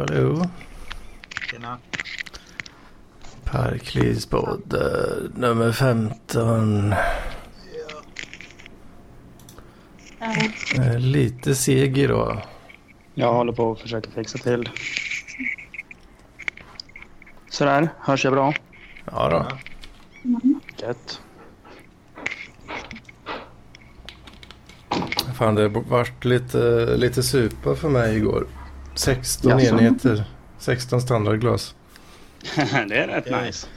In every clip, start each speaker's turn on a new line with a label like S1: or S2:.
S1: Hallå?
S2: Tjena.
S1: Parklivspodd eh, nummer 15.
S2: Ja.
S1: Eh, Lite seg idag.
S3: Jag håller på att försöka fixa till. Sådär, hörs jag bra?
S1: Ja då.
S3: Gött.
S1: Fan det vart lite, lite supa för mig igår. 16
S3: Jaså?
S1: enheter. 16 standardglas.
S3: det är rätt
S2: Ja.
S3: nice.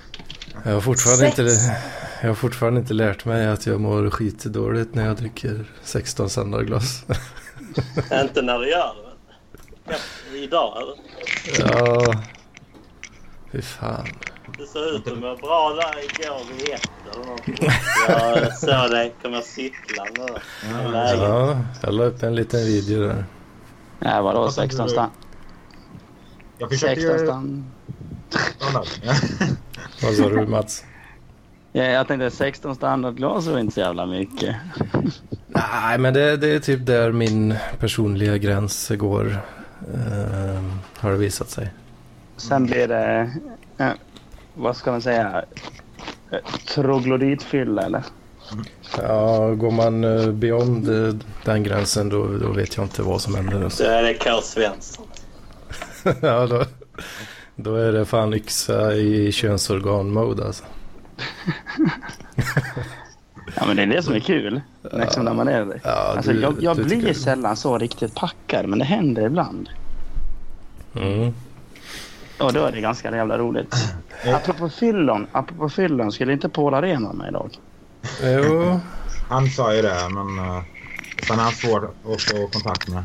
S1: Jag har, fortfarande inte,
S4: Sex.
S1: jag har fortfarande inte lärt mig att jag mår skitdåligt när jag dricker 16 standardglas.
S5: Inte när du gör det. Kanske Idag eller?
S1: ja. Fy fan.
S5: Det såg ut att må bra där igår vid ett eller någonting. Jag såg dig komma cyklande där. i lägenheten.
S1: Ja, jag la upp en liten video där.
S3: Nej, Äh, vadå
S2: Vad tänker
S3: 16
S2: du?
S3: stan?
S2: Jag
S3: 16
S2: försökte
S3: stan.
S1: Vad sa du Mats?
S3: Ja, jag tänkte 16 standardglas var inte så jävla mycket.
S1: Nej, men det, det är typ där min personliga gräns går. ehm, har det visat sig.
S3: Sen blir det, eh, vad ska man säga, Eh, troglodytfylla eller?
S1: Ja, går man eh, beyond eh, den gränsen då, då vet jag inte vad som händer.
S5: Så är det K. Svensson.
S1: ja, då, då är det fan yxa i könsorgan-mode alltså.
S3: Ja, men det är det som är kul. Liksom när man är det.
S1: Ja,
S3: Alltså,
S1: du-
S3: jag jag
S1: du
S3: blir
S1: tycker-
S3: sällan så riktigt packad, men det händer ibland.
S1: Mm.
S3: Och då är det ganska jävla roligt. Apropå fyllon, apropå fyllon, skulle inte Paul Arena med idag?
S1: Jo,
S2: Han sa ju det, men uh, sen är han svår att få kontakt med. Eh,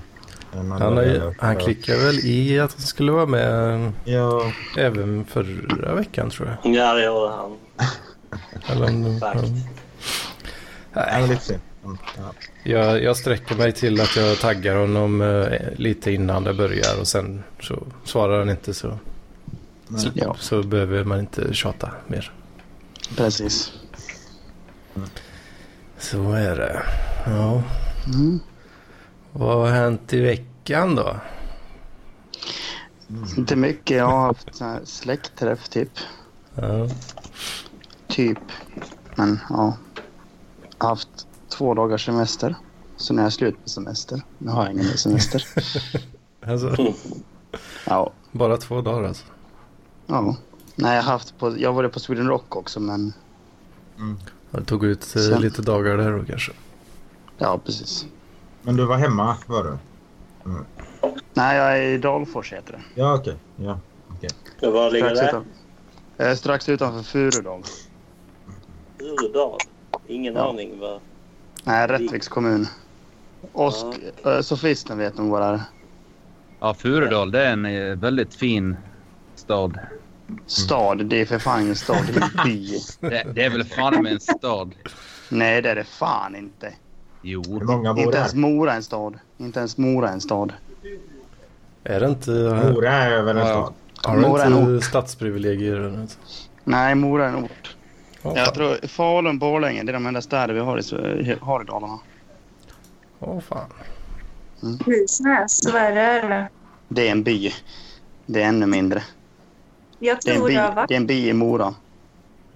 S2: Men
S1: han, har,
S2: det
S1: ju-
S2: är-
S1: han klickade väl i att han skulle vara med
S2: Ja,
S1: även förra veckan tror jag.
S5: Ja det gjorde han.
S1: Eller om, mm.
S5: Faktiskt.
S2: han är lite synd. Mm, Ja.
S1: Jag, jag sträcker mig till att jag taggar honom eh, lite innan det börjar och sen så svarar han inte så, så,
S3: Ja.
S1: så behöver man inte tjata mer.
S3: Precis.
S1: Så är det. Ja.
S3: Mm.
S1: Vad har hänt i veckan då?
S3: Inte mycket. Jag har haft sån här släktträff typ.
S1: Ja.
S3: Typ. Men ja. Jag har haft två dagars semester. Så nu är jag slut med semester. Nu har jag ingen mer semester.
S1: Alltså,
S3: Ja.
S1: bara två dagar alltså.
S3: ja. Nej, jag har haft på... Jag var på Sweden Rock också men...
S1: Jag tog ut eh,
S3: Så.
S1: lite dagar där då kanske.
S3: Ja, precis.
S2: Men du var hemma, var du?
S3: Nej, jag är i Dalfors heter det.
S2: Ja, okej. Ja.
S5: Det var ligger
S3: Strax,
S5: det?
S3: utan... eh, strax utanför Furudal.
S5: Urdal. Ingen
S3: Ja.
S5: aning vad.
S3: Nej, Rättviks kommun. Osk... eh, Sofisten vet nog vad det är.
S6: Ja, Furudal det är en eh, väldigt fin stad.
S3: Stad. Det är för fan ingen stad. Det är en by.
S6: Det, det är väl fan med en stad?
S3: Nej, det är det fan inte.
S6: Jo.
S2: Hur många bor
S3: Inte
S2: där?
S3: ens Mora är en stad. Inte ens Mora är en stad.
S1: Är det inte,
S2: Mora är över en
S6: Ja,
S2: stad.
S1: har
S3: Mora
S1: det
S3: är
S1: inte stadsprivilegier? eller något?
S3: Nej, Mora är en ort.
S1: Åh,
S3: Jag
S1: fan.
S3: tror Falun, Borlänge, det är de enda städer vi har i, Sve- har i Dalarna.
S1: Åh, fan.
S4: Krisnäs, Sverige eller?
S3: Det är en by. Det är ännu mindre.
S4: Jag
S3: Det är en
S4: tror
S3: by,
S4: jag har varit
S3: det är en by i Mora.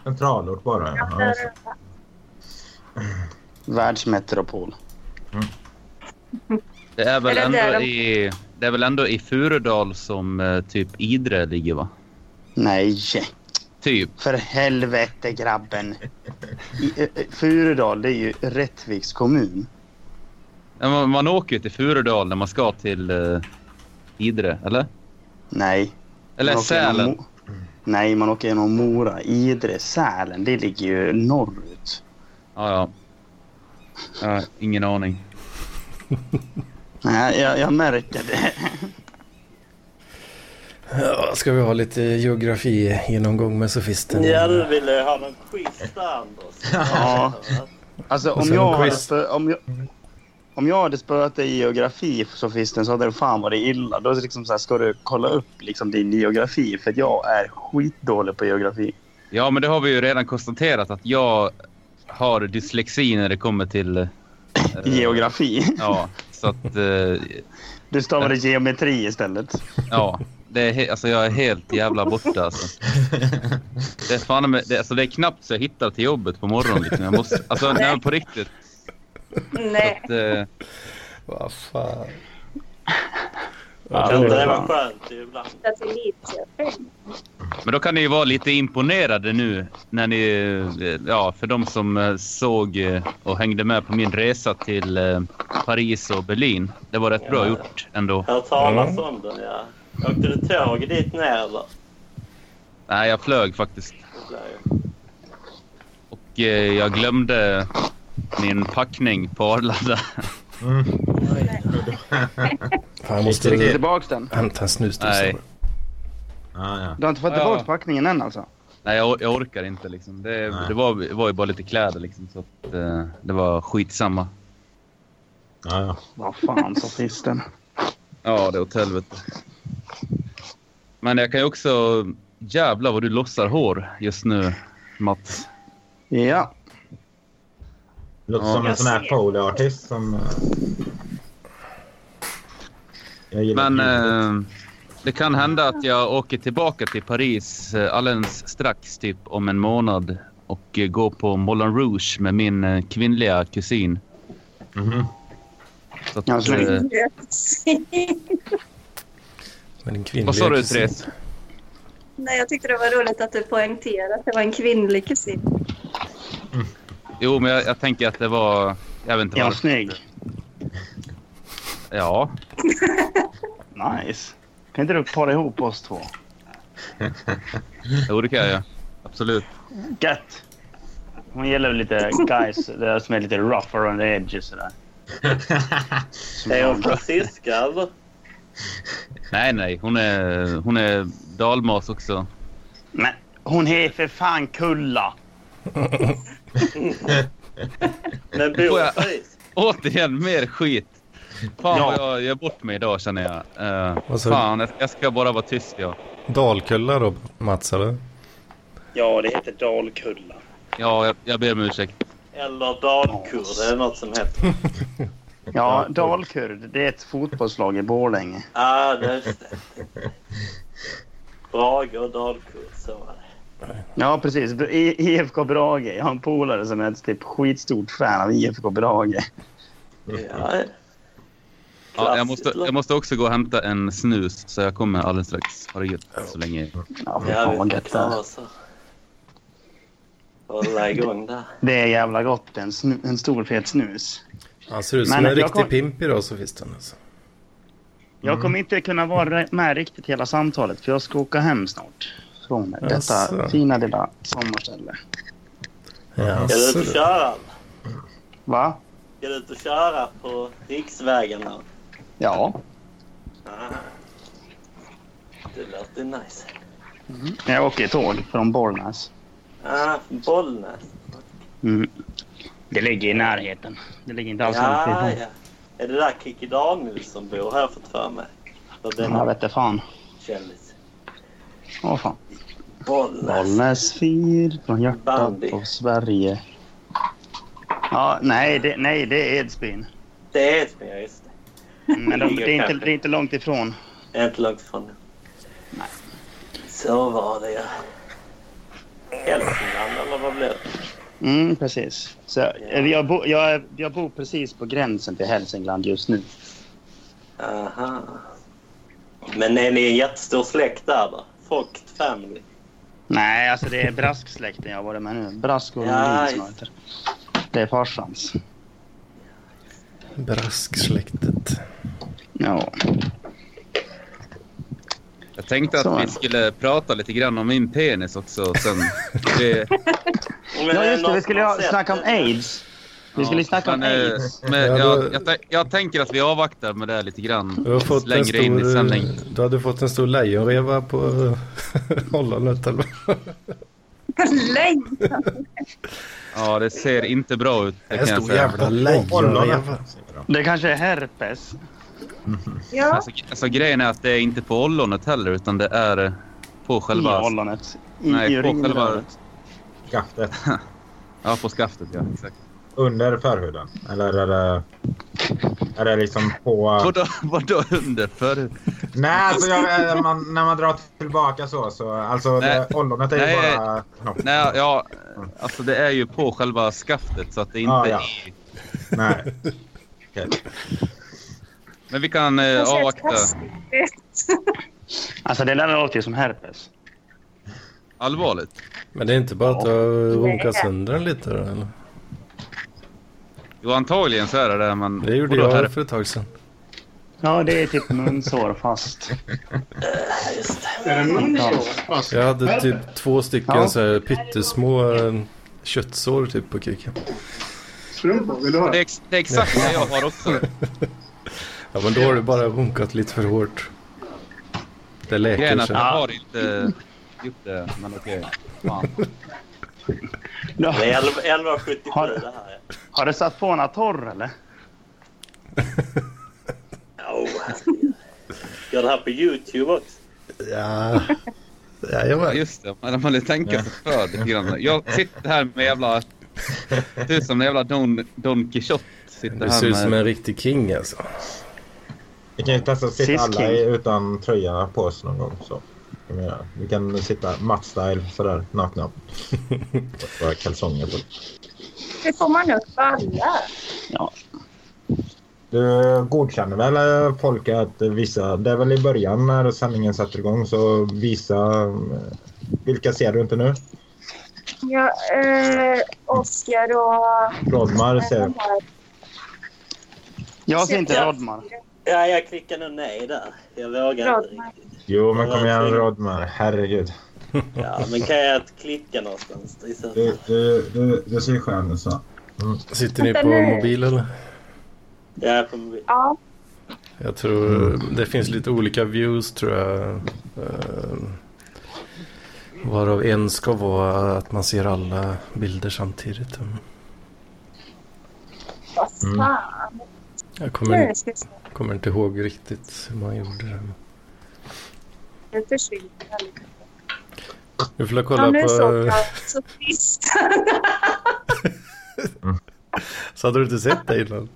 S2: Centralort bara. Ja,
S4: där.
S2: just det.
S3: Världsmetropol.
S6: Det är väl
S4: Eller det är
S6: ändå
S4: de-
S6: i, det är väl ändå i Furudal som eh, typ Idre ligger va?
S3: Nej,
S6: Typ.
S3: för helvete grabben. I, eh, eh, Furudal, det är ju Rättviks kommun.
S6: Ja, Man, man åker ju till Furudal när man ska till eh, Idre, eller?
S3: Nej.
S6: Eller
S3: man åker genom
S6: Sälen.
S3: Mo- Nej, man åker genom Mora. Idre, Sälen, det ligger ju norrut.
S6: Ja, ja. Ja, ingen aning.
S3: Nej, jag, jag märker det.
S1: Ja, ska vi ha lite geografi-genomgång med sofisten?
S5: Ja du ville ha någon quiz där Anders.
S3: Ja. Alltså
S1: Och
S3: om
S1: sen
S3: jag,
S1: en
S3: hade
S1: quiz.
S3: spö, om, jag, om jag hade spöat dig i geografi så Fisten så hade det fan varit illa. Då är det liksom så här, ska du kolla upp liksom din geografi för att jag är skitdålig på geografi.
S6: Ja, men det har vi ju redan konstaterat att jag har dyslexi när det kommer till... eh,
S3: Geografi.
S6: Ja, så att... eh,
S3: Du stavade geometri istället.
S6: Ja, det är he- alltså jag är helt jävla borta alltså. Det är, fan, med- det, alltså, det är knappt så jag hittar till jobbet på morgonen. Liksom. Jag måste, alltså, nej, men på riktigt.
S4: Nej.
S6: Att, eh,
S1: Vad fan.
S3: Ja,
S5: Kan inte det
S3: är
S5: vara
S3: bra.
S5: skönt ibland?
S4: flytta till Lidköping.
S6: men då kan ni ju vara lite imponerade nu. När ni, eh, ja, för de som eh, såg eh, och hängde med på min resa till eh, Paris och Berlin. Det var rätt bra gjort ändå.
S5: Jag har talat om den, ja. Åkte du tåg dit ner eller?
S6: Nej, jag flög faktiskt.
S5: Det blir ju-
S6: Och eh, jag glömde min packning på Arlanda.
S2: Mm.
S1: Fan, jag
S3: Fick du
S1: måste
S3: tillbaka den?
S1: hämta en snusdosa.
S6: Nej.
S2: Ja, ja.
S3: Du har inte fått
S6: Ja, ja.
S3: tillbaka packningen än alltså?
S6: Nej, jag, or- jag orkar inte. Liksom. Det,
S2: Nej.
S6: det, var, det var ju bara lite kläder, liksom, så att, eh, det var skitsamma.
S2: ja, ja.
S3: Vad fan sa fisten?
S6: Ja, det är åt helvete. Men jag kan ju också... Jävlar vad du lossar hår just nu, Mats.
S3: Ja.
S2: Låter
S6: Ja.
S2: som en
S4: Jag
S2: sån här
S4: ser.
S2: foley-artist som... eh, Jag gillar
S6: Men
S2: ljudet.
S6: eh, det kan hända att jag åker tillbaka till Paris eh, alldeles strax, typ om en månad och eh, går på Moulin Rouge med min eh, kvinnliga kusin.
S2: Mhm.
S6: Så att,
S3: Ja, så-
S6: eh,
S1: Men din kvinnliga
S6: vad sa du,
S1: kusin.
S6: Therese?
S4: Nej, jag tyckte det var roligt att du poängterade att det var en kvinnlig kusin.
S6: Jo, men jag, jag tänker att det var... Jag vet inte
S3: Är hon
S6: vad.
S3: snygg?
S6: Ja.
S3: Nice. Kan inte du para ihop oss två?
S6: Jo, det kan jag göra. Absolut.
S3: Gött! Hon gillar lite guys det där som är lite rough around the edges sådär.
S5: Är hon fransyska eller?
S6: Nej, nej. Hon är, hon är dalmas också.
S3: Men hon är för fan kulla!
S5: Men
S6: Får
S5: bor i
S6: jag-
S5: Paris?
S6: Återigen, mer skit. Fan
S3: Ja.
S6: vad jag gör bort mig idag känner jag. Eh,
S1: Vad sa du?
S6: fan, jag- jag ska bara vara tyst jag.
S1: Dalkulla då, Mats? Eller?
S5: Ja, det heter Dalkulla.
S6: Ja, jag, jag ber om ursäkt.
S5: Eller Dalkur, det är något som heter. Ja,
S3: Ja, Dalkurd, det är ett fotbollslag i Borlänge.
S5: ah, det är just det. Brage och Dalkur, så var det.
S3: Ja, precis. I- IFK Brage. Jag har en polare som är ett typ skitstort fan av IFK Brage. Mm.
S5: Ja, ja.
S6: Ja, jag,
S5: Klassiskt
S6: måste,
S5: lag.
S6: jag måste också gå och hämta en snus så jag kommer alldeles strax. Ha det gött så länge.
S3: Ja, fy
S5: Ja,
S3: fan
S5: vi
S3: vad
S5: får
S3: gött det är.
S5: klara oss här. Hålla igång där.
S3: Det är jävla gott. En, snu, en stor fet snus.
S1: Han ser ut
S3: Men
S1: som en
S3: jag
S1: riktig
S3: kom-
S1: pimp idag, sofisten. Alltså.
S3: Jag kommer inte kunna vara med riktigt hela samtalet för jag ska åka hem snart. Från detta
S1: Jaså.
S3: fina lilla sommarställe.
S5: Ska du
S1: Jaså,
S5: ut och
S1: du.
S5: köra?
S3: Va?
S5: Ska du ut och köra på riksvägen här?
S3: Ja.
S5: Ah. Det låter nice.
S3: Jag åker tåg från Bollnäs.
S5: Ah, Bollnäs.
S3: Mm. Det ligger i närheten. Det ligger inte alls långt
S5: Ja,
S3: ifrån.
S5: ja. Är det där Kikki Daniel som bor här fått för mig? För
S3: Jag
S5: denna
S3: vet inte fan.
S5: kändis.
S3: Åh fan.
S5: Bollnäs.
S3: Bollnäs fyr från hjärtat
S5: Bandy.
S3: av Sverige. Ja, nej, det, nej, det är Edsbyn.
S5: Det är Edsbyn, ja just det.
S3: Men de, det, är inte,
S5: Kanske.
S3: det är inte långt ifrån.
S5: Det är inte långt ifrån nu. Så var det ja. Hälsingland eller vad blev det?
S3: Mm, precis. Så, jag, jag, bo, jag, är- jag bor precis på gränsen till Hälsingland just nu.
S5: Aha. Men är ni en jättestor släkt där då? Fucked family?
S3: Nej, alltså det är brasksläkten jag har varit med nu. Brask och
S5: Ja,
S3: Lundin som
S5: just.
S3: jag heter. Det är farsans.
S1: Brasksläktet.
S3: Ja.
S6: Jag tänkte
S3: Så är
S6: att vi
S3: det.
S6: skulle prata lite grann om min penis också sen. Det,
S5: Men
S3: ja,
S5: är
S3: just det.
S5: någon
S3: Vi skulle ju
S5: som har sett
S3: snacka om
S5: det?
S3: aids. Vi skulle
S6: ja,
S3: snacka om
S6: men, eh,
S3: aids.
S6: Men,
S1: Ja,
S6: jag,
S1: då-
S6: jag, tän- jag tänker att vi avvaktar med det lite grann.
S1: Du har fått en
S6: Längre in i sändningen.
S1: stor, du hade fått en stor lejonreva på eh, ollonet eller vad?
S4: Löj!
S6: Ja, det ser inte bra ut. Det
S1: En
S6: kan jag
S1: stor
S6: säga.
S1: jävla lejonreva.
S2: Ollonet. säger de.
S3: Det kanske är herpes.
S4: Ja,
S6: Alltså, alltså, grejen är att det är inte på ollonet heller, utan det är eh, på själva...
S3: I ollonet. I,
S6: Nej,
S3: i
S6: på själva-
S3: urinröret.
S2: Skaftet.
S6: Ja, på skaftet. Ja, exakt.
S2: Under förhuden? Eller är det, är det liksom på...
S6: Vadå, vadå under för?
S2: Nej, alltså jag, eh, man, när man drar tillbaka så. så alltså,
S6: Nej.
S2: det, ollonet är ju
S6: Nej.
S2: bara knoppen.
S6: Nej, ja, alltså det är ju på själva skaftet så att det inte
S2: Ja, ja.
S6: är...
S2: Nej. Okej.
S6: Men vi kan eh, avvakta.
S3: Alltså det där låter ju som herpes.
S6: Allvarligt.
S1: Men det är inte bara att jag honkar
S4: Nej.
S1: sönder den lite då, eller?
S6: Jo, antagligen så är det det, men...
S1: Det gjorde
S6: Vadå, här-
S1: jag för ett tag sedan.
S3: Ja, det är typ munsår fast.
S7: Är det någon
S3: Ja.
S7: Fast,
S1: Jag hade typ två stycken
S3: Ja.
S1: så här pyttesmå eh, köttsår typ på kuken.
S7: strumpor, vill du ha?
S6: Det är, ex- det är exakt det jag har också.
S1: Ja men då har du bara honkat lite för hårt. Det
S6: Grejen är
S1: läker
S6: att jag
S1: sig.
S6: har inte gjort det, men okej. Fan.
S3: Ja.
S5: Det är 1177
S3: Har-
S5: det här.
S3: Har du satt på en torr eller?
S5: Oh, Gör det här på YouTube också.
S1: Ja.
S6: Ja,
S1: Jajamän.
S6: just det. Man man lite tänka sig för lite grann. Jag sitter här med jävla... Du som en jävla Don, Don Quixote. Sitter
S1: Du ser ut
S6: här
S1: som
S6: med...
S1: en riktig king alltså.
S2: Vi kan ju testa att sitta
S3: Sis-king.
S2: alla i- utan tröja på oss någon gång. Så. Kan vi göra. Vi kan sitta Mats-style sådär nakna. Bara kalsonger på.
S4: Hur får man upp alla?
S2: Du godkänner väl eh, folk att vissa, det är väl i början när sändningen satte igång så visa, eh, vilka ser du inte nu?
S4: Ja, eh, Oskar och... eh,
S2: Rodmar ser du.
S3: Jag ser inte
S5: Ja.
S3: Rodman.
S5: Ja, jag klickar nu nej där. Jag vågar inte
S4: Rodman.
S5: riktigt.
S2: Jo men kom igen Rodmar, herregud.
S5: Ja, men kan jag inte klicka någonstans? Det är så-
S2: Du, du, du, du ser skön ut så.
S1: Sitter ni
S4: Vänta
S1: på
S4: nu.
S1: mobil eller?
S5: Jag är på mobil.
S4: Ja,
S1: Jag tror det finns lite olika views tror jag. Eh, varav en ska vara att man ser alla bilder samtidigt. Mm.
S4: vad
S2: Mm.
S4: fan.
S1: Jag
S4: Nu
S1: kommer,
S4: ska vi se.
S1: kommer inte ihåg riktigt hur man gjorde det.
S4: Nu försvinner allihopa.
S1: Du får jag
S4: Ja,
S1: kolla
S4: nu såg
S1: på...
S4: jag så trist.
S1: Så hade du inte sett det innan?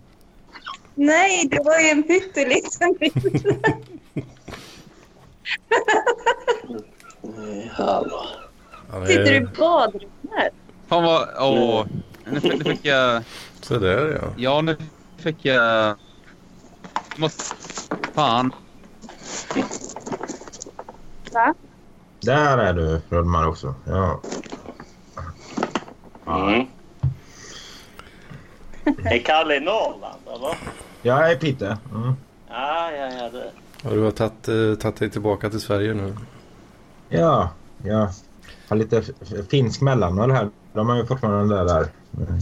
S4: Nej, det var ju en pytteliten bild.
S5: Nej, Hallå.
S1: Ja, det-
S4: Sitter du i badrummet?
S6: Fan vad... Åh. Nu fick, nu fick jag...
S1: Så där ja.
S6: Ja, nu fick jag... Måste... Fan.
S4: Va?
S2: Där är du Rodmar också. Ja.
S5: Mm. Är Kalle i Norrland, eller?
S2: Jag är Pite. Mm.
S5: Ja, ja, ja. Det.
S1: Och du har tagit, eh, tagit dig tillbaka till Sverige nu.
S2: Ja, ja. Har lite f- f- finsk mellanöl här. De har ju fortfarande det där. eh,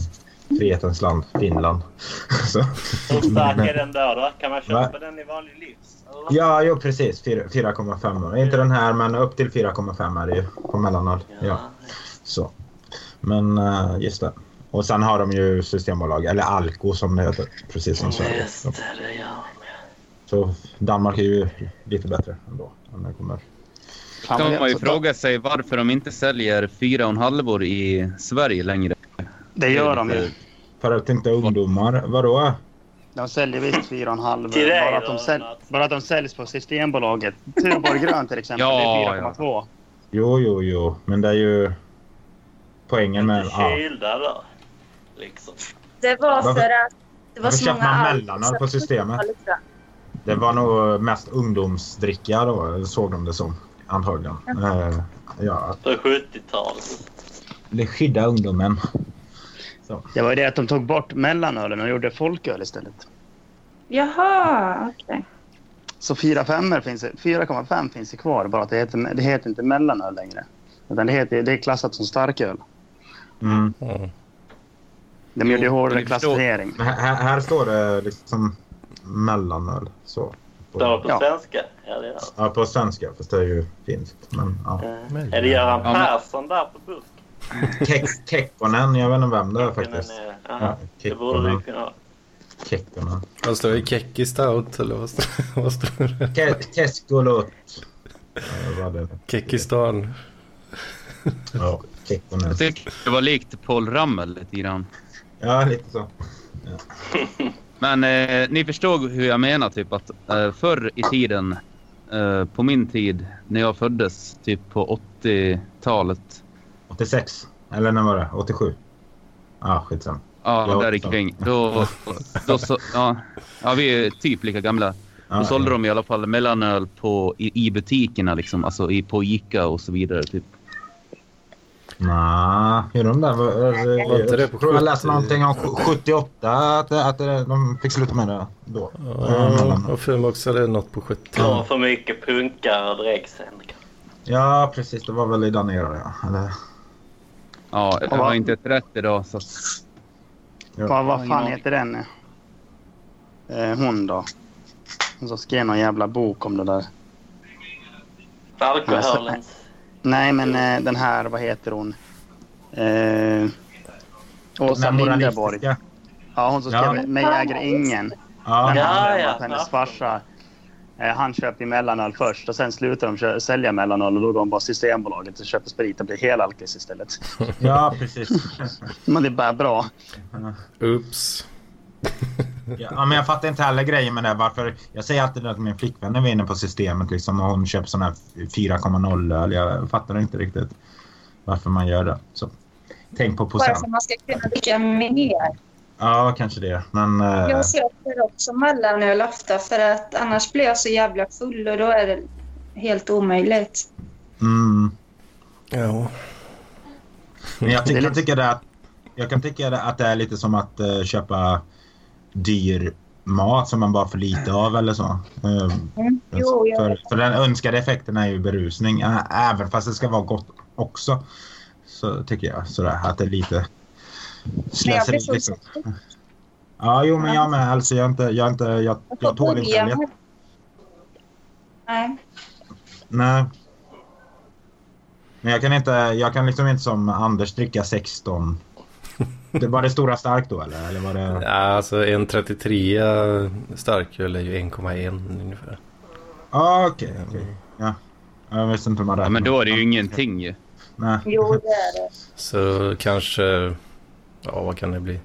S2: Frihetens land, Finland. Så.
S5: Hur stark är den där då? Kan man köpa
S2: Va?
S5: den i vanlig livs? Eller?
S2: Ja, jo precis. Fyra- 4,5. Inte den här, men upp till 4,5 är det ju på mellanöl. Ja, så. Men eh, just det. Och sen har de ju Systembolag, eller Alko som det heter, precis som Sverige.
S5: Just det, det gör
S2: Så Danmark är ju lite bättre ändå. Om det kommer.
S6: Då
S3: Fan,
S6: kan
S3: vad
S6: man ju
S3: jag-
S6: fråga sig varför de inte säljer fyra och en halvor i Sverige längre.
S3: Det gör de ju.
S2: För att inte ungdomar, vadå?
S3: De säljer visst 4,5.
S5: Till dig
S3: Bara, att de
S5: då,
S3: säl...
S5: Mats.
S3: bara att de säljs på Systembolaget. Tuborg Grön till exempel,
S6: Ja,
S3: det
S6: ja.
S3: är 4,2.
S2: Jo, jo, jo. Men det är ju poängen
S5: jag.
S2: med...
S5: Lite
S2: Ja.
S5: kylda då. Liksom.
S4: Det var
S2: Varför-
S4: för att det var
S2: varför
S4: så
S2: köper
S4: många
S2: man
S4: alkohol-
S2: mellanöl på Systemet?
S4: alkohol-
S2: Det var nog mest ungdomsdricka då, såg de det som. Antagligen. Eh, ja,
S5: På 70-talet.
S2: det skydda ungdomen.
S3: Det var ju det att de tog bort mellanölen och gjorde folköl istället.
S4: Jaha, okej.
S3: Så 4,5 finns, 4,5 finns ju kvar, bara att det heter, det heter inte mellanöl längre. Utan det, heter, det är klassat som starköl.
S2: Mm.
S1: Mm.
S3: De gjorde ju
S6: men
S3: hårdare
S6: jag förstår.
S3: klassificering.
S2: Men Här, här- här står det liksom mellanöl. Så.
S5: Det var på
S3: Ja.
S5: svenska. Ja, det gör det.
S2: Ja, på svenska, fast det är ju finskt. Men, ja.
S5: Eh, Är det Göran
S6: Ja, men-
S5: Persson där på burk?
S2: Kek- Kekkonen, jag vet inte vem det är faktiskt.
S5: Den är-
S2: Ja,
S5: ja, eh, Det borde
S2: Kekkonen.
S5: du kunna ha.
S2: Kekkonen.
S1: Vad står det? Kekki Stout eller vad står, vad står det?
S2: Ke- Keskolot. Eh, vad det-
S1: Kekistan.
S2: Ja, Kekkonen.
S6: Jag tycker det var likt Paul Ramel lite grann.
S2: Ja, lite så. Ja.
S6: Men eh, ni förstod hur jag menar typ att eh, förr i tiden, eh, på min tid när jag föddes, typ på 80-talet.
S2: 86. Eller när var det? 87? Ja, ah, skitsamma.
S6: Ja,
S2: Ja,
S6: där
S2: så.
S6: kring. Då, då så, ja, ja, vi är typ lika gamla. Då
S2: Ja,
S6: sålde
S2: ja.
S6: de i alla fall mellanöl på, i, i butikerna, liksom, alltså i, på Ica och så vidare. Typ.
S2: Nej, hur de där var...
S1: Var inte det på
S2: Jag tror jag läste
S1: 70?
S2: någonting om 78, att, att de fick sluta med det då.
S1: Ja, jag har för mig också det är något på 70.
S5: Det
S2: Mm.
S5: var för mycket punkar och dräggsändningar.
S2: Ja, precis. Det var väl i den eran, ja. Eller,
S6: Ja, jag
S3: Ja.
S6: har inte ett rätt idag. Så att,
S2: ja.
S3: Vad, vad fan heter den? Eh, hon då? Hon som skrev någon jävla bok om det där.
S5: Alkoholens...
S3: Nej, men eh, den här, vad heter hon? Eh, Åsa
S2: Den
S3: Linderborg.
S2: moralistiska.
S3: Ja, hon som
S2: Ja.
S3: skrev Mig äger ingen.
S2: Ja,
S3: Den
S5: Ja,
S3: handlar om
S5: ja,
S3: att hennes
S5: ja.
S3: farsa, eh, han köpte ju mellanöl först och sen slutade de kö- sälja mellanöl och då går de bara till Systembolaget och köper sprit och blir helalkis istället.
S2: ja precis.
S3: Men det är bara bra.
S1: Oops.
S2: Ja, men jag fattar inte heller grejen med det. Varför, jag säger alltid det till min flickvän när vi är inne på systemet liksom, och hon köper sån här 4,0-öl. Jag fattar inte riktigt varför man gör det. Så. Tänk på
S4: Bara för att
S2: procent.
S4: man ska kunna dricka mer.
S2: Ja, kanske det. Men, eh,
S4: Jag köper också mellanöl ofta för att annars blir jag så jävla full och då är det helt omöjligt.
S2: mm,
S1: Ja.
S2: Men jag, ty-
S3: Det är
S2: kan tycka det att, jag kan tycka det att det är lite som att eh, köpa dyr mat som man bara får lite av eller så. Eh,
S4: Mm, Jo, jag
S2: för, för den önskade effekten är ju berusning, ä- även fast det ska vara gott också. Så tycker jag sådär, att det är lite slöseri.
S4: så
S2: Liksom. Ja, jo, men jag med. Alltså, jag, är inte, jag, är inte, jag, jag tål inte det.
S4: med. Nej.
S2: Nej. Men jag kan inte, jag kan liksom inte som Anders dricka 16. Det var det stora starkt då eller? eller var det...
S1: Ja, alltså en 33 starköl är ju 1,1 ungefär.
S2: Ah, okej. okej. Ja. Jag visste inte hur man
S6: ja,
S2: räknar.
S6: men då är det ju ingenting ju.
S2: Nej.
S4: Jo, det är det.
S1: Så kanske, ja vad kan det bli?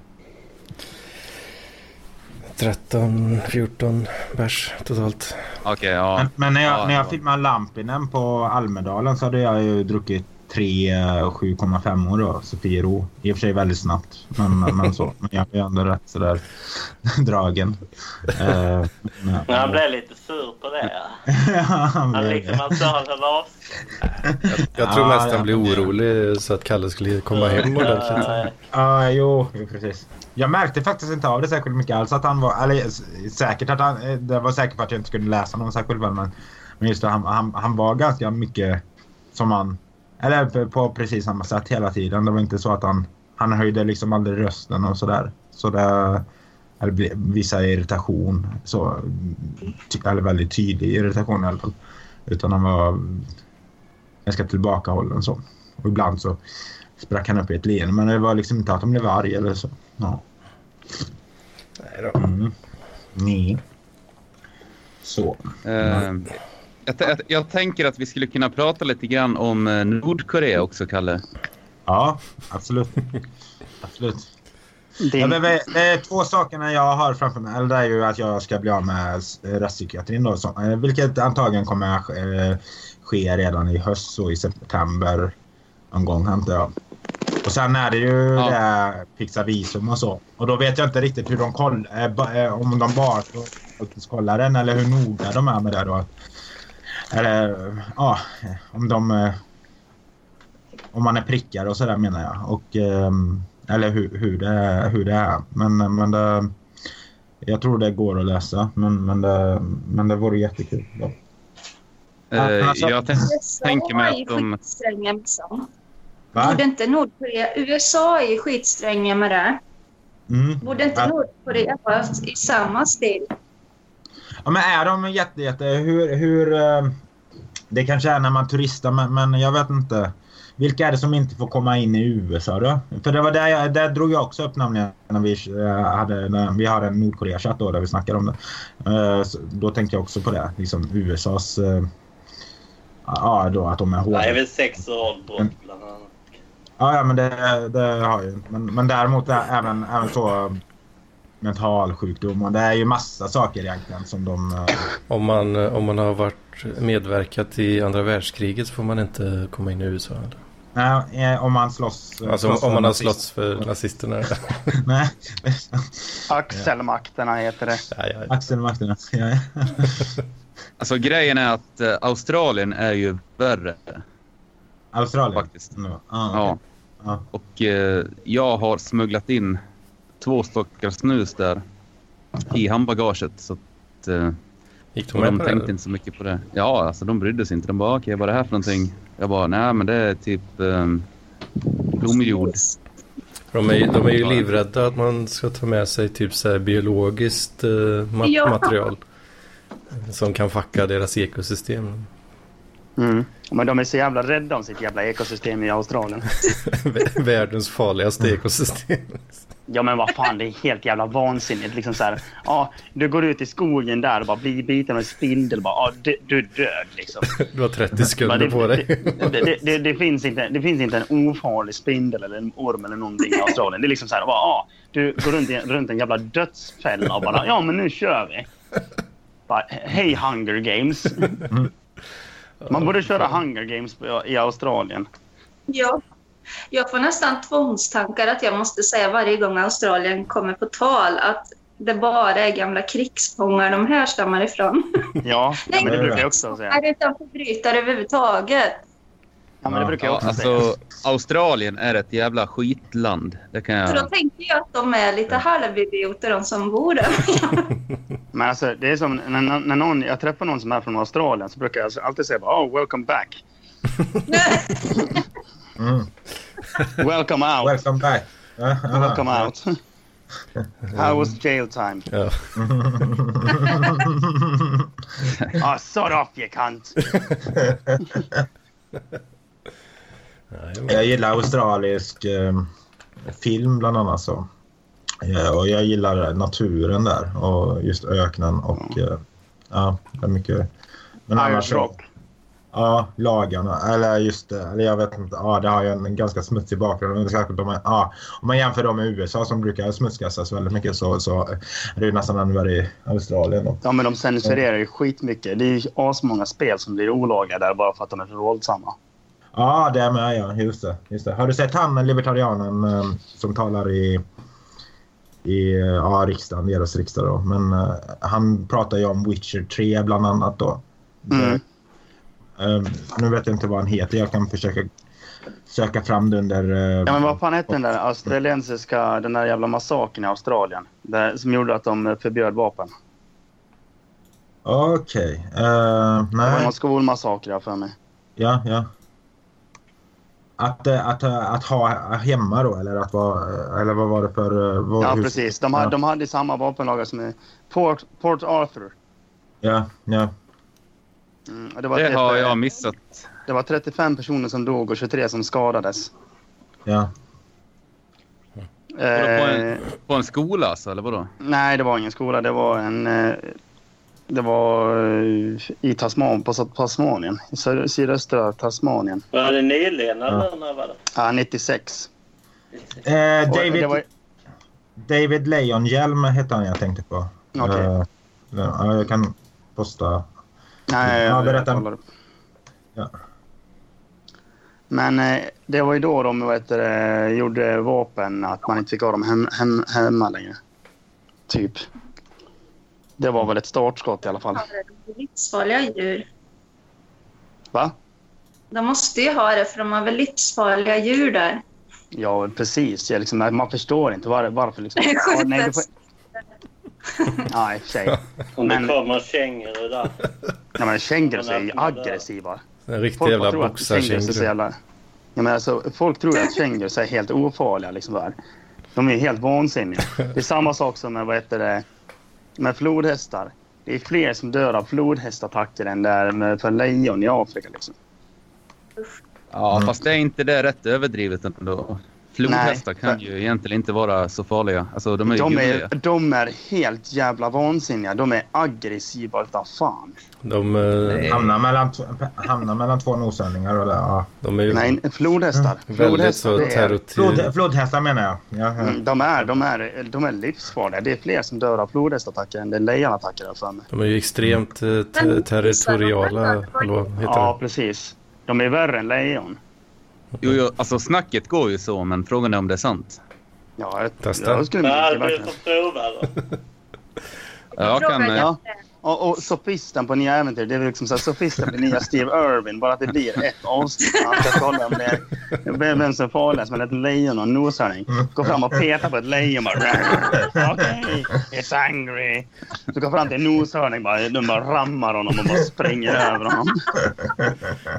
S1: 13, 14 bärs totalt.
S6: Okej, ja.
S2: Men, men när jag,
S6: Ja,
S2: när
S6: ja.
S2: jag filmade Lampinen på Almedalen så hade jag ju druckit tre eh, 7,5 år då, Sofiero. I och för sig väldigt snabbt, men, men så. Men jag blev ändå rätt sådär dragen. Eh, men-
S5: Men han blev lite sur på det.
S2: Han
S5: Han
S2: blev
S5: liksom, han sa att han avstod.
S1: Jag tror
S2: Ja,
S1: mest han
S2: ja.
S1: blev orolig så att Kalle skulle komma hem ordentligt.
S2: Ja, jo, jo, precis. Jag märkte faktiskt inte av det särskilt mycket alls att han var, eller s- säkert att han, eh, det var säkert för att jag inte skulle läsa honom särskilt väl, men, men just det, han, han, han var ganska mycket som han, eller p- på precis samma sätt hela tiden. Det var inte så att han, han höjde liksom aldrig rösten och sådär. Så det, eller bli- vissa irritation, så, ty, eller väldigt tydlig irritation i alla fall. Utan han var ganska tillbakahållen så. Och ibland så sprack han upp i ett leende. Men det var liksom inte att han blev arg eller så. Ja.
S1: Nej då.
S2: Mm. Nej. Så.
S6: Eh, jag, t- jag- jag tänker att vi skulle kunna prata lite grann om eh, Nordkorea också, Kalle.
S2: Ja, absolut. absolut. Ja,
S3: Din,
S2: men det, det är två sakerna jag har framför mig. Eller det är ju att jag ska bli av med s- rättspsykiatrin då. Så, eh, vilket antagligen kommer att eh, ske redan i höst och i september. Någon gång antar jag. Och sen är det ju
S6: Ja.
S2: det här fixa visum och så. Och då vet jag inte riktigt hur de kollar. Eh, ba- eh, om de bara faktiskt kollar den eller hur noga de är med det då. Eller eh, ja, om de... eh, Om man är prickad och sådär menar jag. Och, ehm, eller hur, hur, det, hur det är. Men, eh, men det, jag tror det går att läsa. Men, men, det, men det vore jättekul. Då.
S6: Eh,
S2: Alltså-
S6: jag tänk-
S4: USA
S6: tänker mig att
S4: är
S6: de-
S4: skitstränga med sånt.
S2: Va?
S4: Borde inte Nordkorea... USA är skitstränga med det.
S2: Mm.
S4: Borde inte
S2: Ja.
S4: Nordkorea vara i samma stil?
S2: Ja, men är de jätte, jätte hur, hur... eh, Det kanske är när man turistar, men, men jag vet inte. Vilka är det som inte får komma in i USA då? För det var där jag, där drog jag också upp nämligen när vi eh, hade, när vi har en Nordkorea-chatt då där vi snackar om det. Eh, så Då tänkte jag också på det, liksom USAs... eh, Ja, då att de är hårda.
S5: Det är väl sex år brott bland annat.
S2: Ja, ja men det, det har ju. Men, men däremot är även, även så eh, mentalsjukdomar. Det är ju massa saker egentligen som de... eh,
S1: Om man, om man har varit medverkat i andra världskriget så får man inte komma in i USA. Eller?
S2: Nej, eh, om man slåss... eh,
S1: Alltså om,
S2: slåss
S1: om
S2: för
S1: man har
S2: nazist-
S1: slåss för nazisterna. eller?
S2: Nej.
S3: Axelmakterna heter det.
S1: Ja, ja, ja.
S2: Axel Martin. Ja, ja.
S6: Alltså grejen är att eh, Australien är ju värre
S2: Australien.
S6: faktiskt.
S2: Ja.
S6: Ja.
S2: Ja.
S6: Och eh, jag har smugglat in två stockar snus där i handbagaget. Så att, eh,
S1: Gick de
S6: och
S1: med
S6: de
S1: på det?
S6: tänkte
S1: eller?
S6: inte så mycket på det. Ja, alltså de brydde sig inte. De bara, okej, vad är det här för någonting? Jag bara, nej men det är typ eh, blomjord.
S1: De är, ju- de är ju livrädda att man ska ta med sig typ så här biologiskt eh, ma-
S4: Ja.
S1: material. Som kan fucka deras ekosystem.
S3: Mm. Men de är så jävla rädda om sitt jävla ekosystem i Australien.
S1: Världens farligaste
S3: Mm.
S1: ekosystem.
S3: Ja men vad fan, det är helt jävla vansinnigt. Liksom så här, ja, du går ut i skogen där och bara blir biten av en spindel. Bara, ja, du, du är död liksom.
S1: Du har 30
S3: Bara,
S1: sekunder på dig.
S3: Det, det, det, det, finns inte, det finns inte en ofarlig spindel eller en orm eller någonting i Australien. Det är liksom så här, bara, ja, du går runt, i, runt en jävla dödsfälla och bara ja men nu kör vi. Bara, Hej Hunger Games.
S1: Mm.
S3: Man borde köra Hunger Games på- i Australien.
S4: Ja. Jag får nästan tvångstankar att jag måste säga varje gång Australien kommer på tal att det bara är gamla krigsfångar de härstammar ifrån.
S3: Ja, ja men det brukar jag också säga.
S4: Är det inte förbrytare överhuvudtaget?
S3: Ja, men det brukar jag
S6: Ja,
S3: också säga.
S6: alltså Australien är ett jävla skitland. Det kan
S4: För då
S6: jag...
S4: tänker jag att de är lite halvidioter de som bor där.
S3: Men alltså, det är som när, när- när någon, jag träffar någon som är från Australien så brukar jag alltså alltid säga bara, oh, welcome back.
S2: Mm.
S3: Welcome out.
S2: Welcome back. Ja, ja.
S3: Welcome out. How was jail time?
S1: Ja.
S3: Ah, sod off you cunt.
S1: Nej, men-
S2: Jag gillar australisk eh, film bland annat. Så. Ja, och jag gillar eh, naturen där och just öknen och eh, ja, det är mycket. Men annars
S3: Irish
S2: så-
S3: rock.
S2: Ja, lagarna. Eller just det. Eller jag vet inte. Ja, det har ju en ganska smutsig bakgrund. Men Särskilt om man, ja, om man jämför dem med USA som brukar smutskastas väldigt mycket så, så är det ju nästan ännu värre i Australien. Då.
S3: Ja, men de censurerar ju skitmycket. Det är ju asmånga spel som blir olagliga där bara för att de är för våldsamma.
S2: Ja, det är med ja. Just det, just det. Har du sett han libertarianen eh, som talar i, i eh, ja, riksdagen, deras riksdag då. Men eh, han pratar ju om Witcher 3 bland annat då.
S3: Mm.
S2: Eh, nu vet jag inte vad han heter. Jag kan försöka söka fram det under... eh,
S3: Ja, men vad fan hette den där australiensiska, den där jävla massakern i Australien? Där, som gjorde att de förbjöd vapen.
S2: Okej. Eh,
S3: Det var
S2: nej.
S3: någon skolmassaker där för mig.
S2: Ja, ja. Att, eh, att, eh, att ha hemma då eller att vara... Eller vad var det för... eh, vad-
S3: Ja,
S2: hur-
S3: precis. De, hade-
S2: Ja.
S3: de hade samma vapenlagar som i Port, Port Arthur.
S2: Ja, ja.
S3: Mm, och det, var
S6: Det
S3: 30,
S6: har jag missat.
S3: det var 35 personer som dog och 23 som skadades.
S2: ja.
S6: Var det På
S3: Eh,
S6: en, på en skola alltså, eller vadå?
S3: nej, det var ingen skola. Det var en... Eh, det var eh, i Tasman, på Tasmanien. I sö- sydöstra Tasmanien.
S5: Var det nyligen eller när var det?
S3: Ja, 96.
S2: Eh,
S3: Och
S2: David,
S3: Det var,
S2: David Lejonhjelm hette han jag tänkte på.
S3: Okej.
S2: Eh, ja, jag kan posta.
S3: nej,
S2: Ja,
S3: jag-
S2: berätta.
S3: jag kollar upp.
S2: Ja.
S3: Men eh, det var ju då de vad heter, det, gjorde vapen, att man inte fick ha dem hem, hem, hemma längre. Typ. Det var väl ett startskott i alla fall.
S4: Ja, det är Livsfarliga djur.
S3: Va?
S4: De måste ju ha det för de har väl livsfarliga djur där.
S3: Ja, precis. Jag liksom, man förstår inte var, varför. Liksom.
S4: Det är sjukt.
S3: Ja, nej, du får... Nej, i och för sig.
S5: Om det
S3: Men-
S5: kommer en känguru där.
S3: Nej, men kängurus är ju aggressiva.
S1: En riktig
S3: Folk bara
S1: jävla
S3: tror att kängurus är så
S1: boxarkänguru.
S3: jävla... Ja, men alltså, folk tror att kängurus är helt ofarliga. Liksom där. De är helt vansinniga. Det är samma sak som med, vad heter det, med flodhästar. Det är fler som dör av flodhästattacker än där med, för lejon i Afrika. Liksom.
S6: Ja, fast det är inte det rätt överdrivet ändå. Flodhästar
S3: Nej.
S6: kan ju egentligen inte vara så farliga. Alltså, de är ju
S3: De
S6: gulliga.
S3: är, de är helt jävla vansinniga. De är aggressiva utan fan.
S1: De, eh,
S2: Hamnar mellan, t- hamnar mellan två noshörningar och det. Ja.
S1: de är ju
S3: Nej, flodhästar.
S1: väldigt så
S3: det är,
S2: Flod,
S1: terrotiv...
S2: flodhästar menar jag. Ja, ja.
S3: Mm, de, är, de, är, de är livsfarliga. Det är fler som dör av flodhästattacker än det är lejonattacker har jag för mig.
S1: De är ju extremt eh, te- territoriala. Eller vad heter
S3: Ja,
S1: det?
S3: precis. De är värre än lejon.
S6: Jo, jo, alltså snacket går ju så, men frågan är om det är sant.
S3: Ja, jag,
S1: Testa.
S3: jag skulle
S5: Ja,
S3: mycket
S5: du
S3: verkligen.
S5: får prova då.
S6: Jag kan, eh,
S3: Ja. Och, och sofisten på Nya Äventyr, det är väl liksom så här, sofisten på nya Steve Irwin, bara att det blir ett avsnitt. när Han ska kolla om det är vem- vem som är farligast mellan ett lejon och en noshörning. Går fram och petar på ett lejon bara okej, it's angry. Så går fram till en noshörning bara, de bara rammar honom och bara spränger över honom.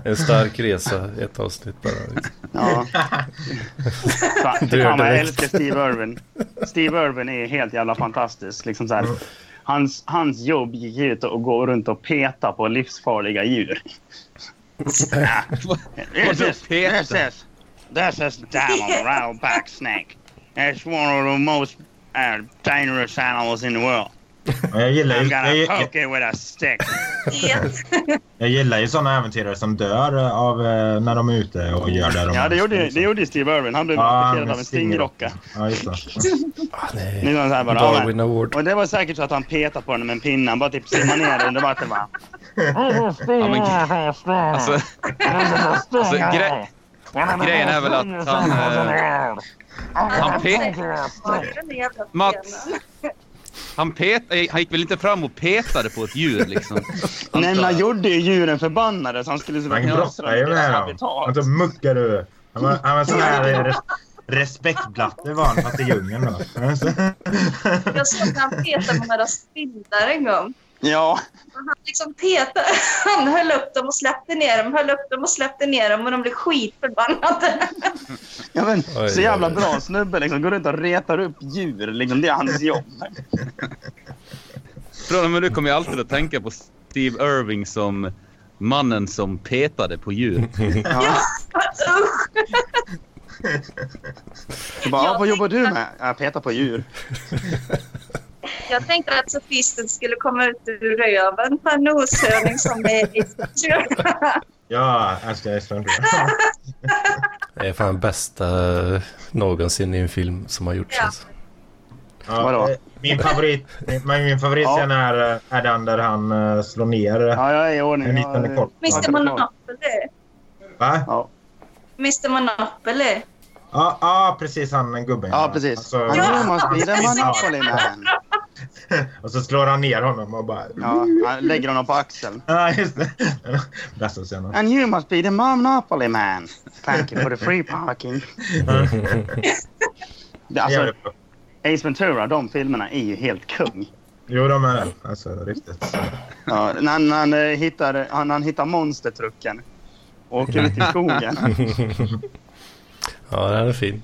S1: En stark resa, ett avsnitt bara. liksom.
S3: Ja. Fan,
S1: Dör
S3: fan vad jag
S1: direkt.
S3: älskar Steve Irwin. Steve Irwin är helt jävla fantastisk. Liksom så här, hans, hans jobb gick ut och gå runt och peta på livsfarliga djur. This
S6: vadå
S3: is,
S6: peta?
S3: this is, this is Diamond Rattleback Snake. It's one of the most uh, dangerous animals in the world.
S2: Men Jag gillar ju,
S3: I'm
S2: jag,
S3: gonna
S2: jag,
S3: poke it with a stick.
S2: jag gillar ju sådana äventyrare som dör eh, av, eh, när de är ute och gör det de
S3: Ja, det gjorde, det gjorde Steve Irwin. Han blev attackerad
S2: Ah, med
S3: av en stingrocka.
S2: Ja, just det.
S1: Ah,
S3: Nu
S1: nej.
S3: är han så här bara, "Ja, men-
S1: Darwin Award.
S3: Och det var säkert så att han petade på den med en pinne. Han bara typ simmade ner den under vattnet bara.
S6: Ja, men, alltså, alltså, gre- grejen är väl att han... Eh, han, pe- Mats. han, pet- eh, han gick väl inte fram och petade på ett djur liksom? Han
S3: Nej men
S6: bara-
S3: han gjorde ju djuren förbannade så han skulle
S2: Han brottade ju med dem. Han tog muckar över. Han var, han var sån här res, respektblatte var han fast i djungeln. då.
S4: Jag såg när han petade på några spindlar en gång.
S3: Ja.
S4: Han liksom petade, han höll upp dem och släppte ner dem, höll upp dem och släppte ner dem och de blev skitförbannade.
S3: ja men,
S1: Oj,
S3: så jävla
S1: oj, oj.
S3: bra snubbe liksom. Går runt och retar upp djur liksom. Det är hans jobb.
S6: Från och med nu kommer jag alltid att tänka på Steve Irving som mannen som petade på djur.
S3: Ja.
S4: Usch!
S3: Så Bara, "Ah, vad jobbar du med? Jag petar på djur.
S4: Jag tänkte att sofisten skulle komma ut ur röven på en noshörning som är i
S2: Ja, älskar Esbjörn.
S1: Det är fan bästa eh, någonsin i en film som har gjorts.
S4: Ja.
S1: Alltså.
S2: Ja,
S3: Vadå?
S2: eh, Min favorit, min, min favoritscen är, eh, är den där han eh, slår ner.
S3: Ja, jag är i ordning.
S2: En
S3: Jag-
S2: liten kort.
S4: Mr Monopoly.
S2: Va?
S3: Ja.
S4: Mr Monopoly.
S2: Ja, ja, precis han gubben.
S3: Ja, precis.
S2: Alltså,
S3: Han
S4: Ja,
S3: man spelar
S4: precis.
S3: Monopoly med han.
S2: Och så slår han ner honom och bara... Ja,
S3: Ja, han lägger honom på axeln.
S2: just det. Bästa scenen.
S3: And you must be the Monopoly man. Thank you for the free parking. Det- Alltså,
S2: Jävligt bra.
S3: Ace Ventura, de filmerna är ju helt kung.
S2: Jo, de är det. Alltså, riktigt.
S3: Ja, när han, när han, eh, hittar, han, han hittar monstertrucken och åker ut i skogen.
S1: Ja, den är fin.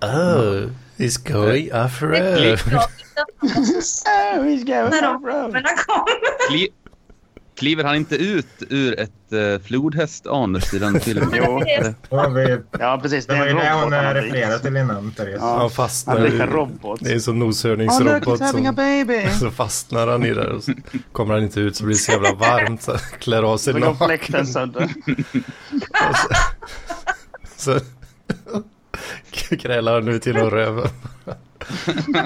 S1: Oh, it's going
S4: Det är
S1: afro.
S4: klippt
S3: oh, he's
S4: när
S3: going
S4: de
S3: off-road.
S4: filmerna kom.
S6: Kli- kliver han inte ut ur ett uh, flodhästanus i den filmen?
S3: Jo.
S6: Eller?
S2: Ja, vi,
S3: Ja, precis. Det
S2: det var
S3: är
S2: ju
S3: en
S2: det
S3: robot.
S2: hon eh,
S3: han har blivit.
S2: refererade till innan, Therese.
S3: Ja.
S1: Han
S3: Han
S1: fastnar
S3: blir
S1: i...
S3: en robot.
S1: Det är som
S3: Oh, look,
S1: noshörningsrobot
S3: he's having a
S1: som...
S3: baby!
S1: Så fastnar han i där och så kommer han inte ut så blir det så jävla varmt så han klär av sig
S3: Så går
S1: naken.
S3: fläkten sönder.
S1: Så krälar han ut genom röven.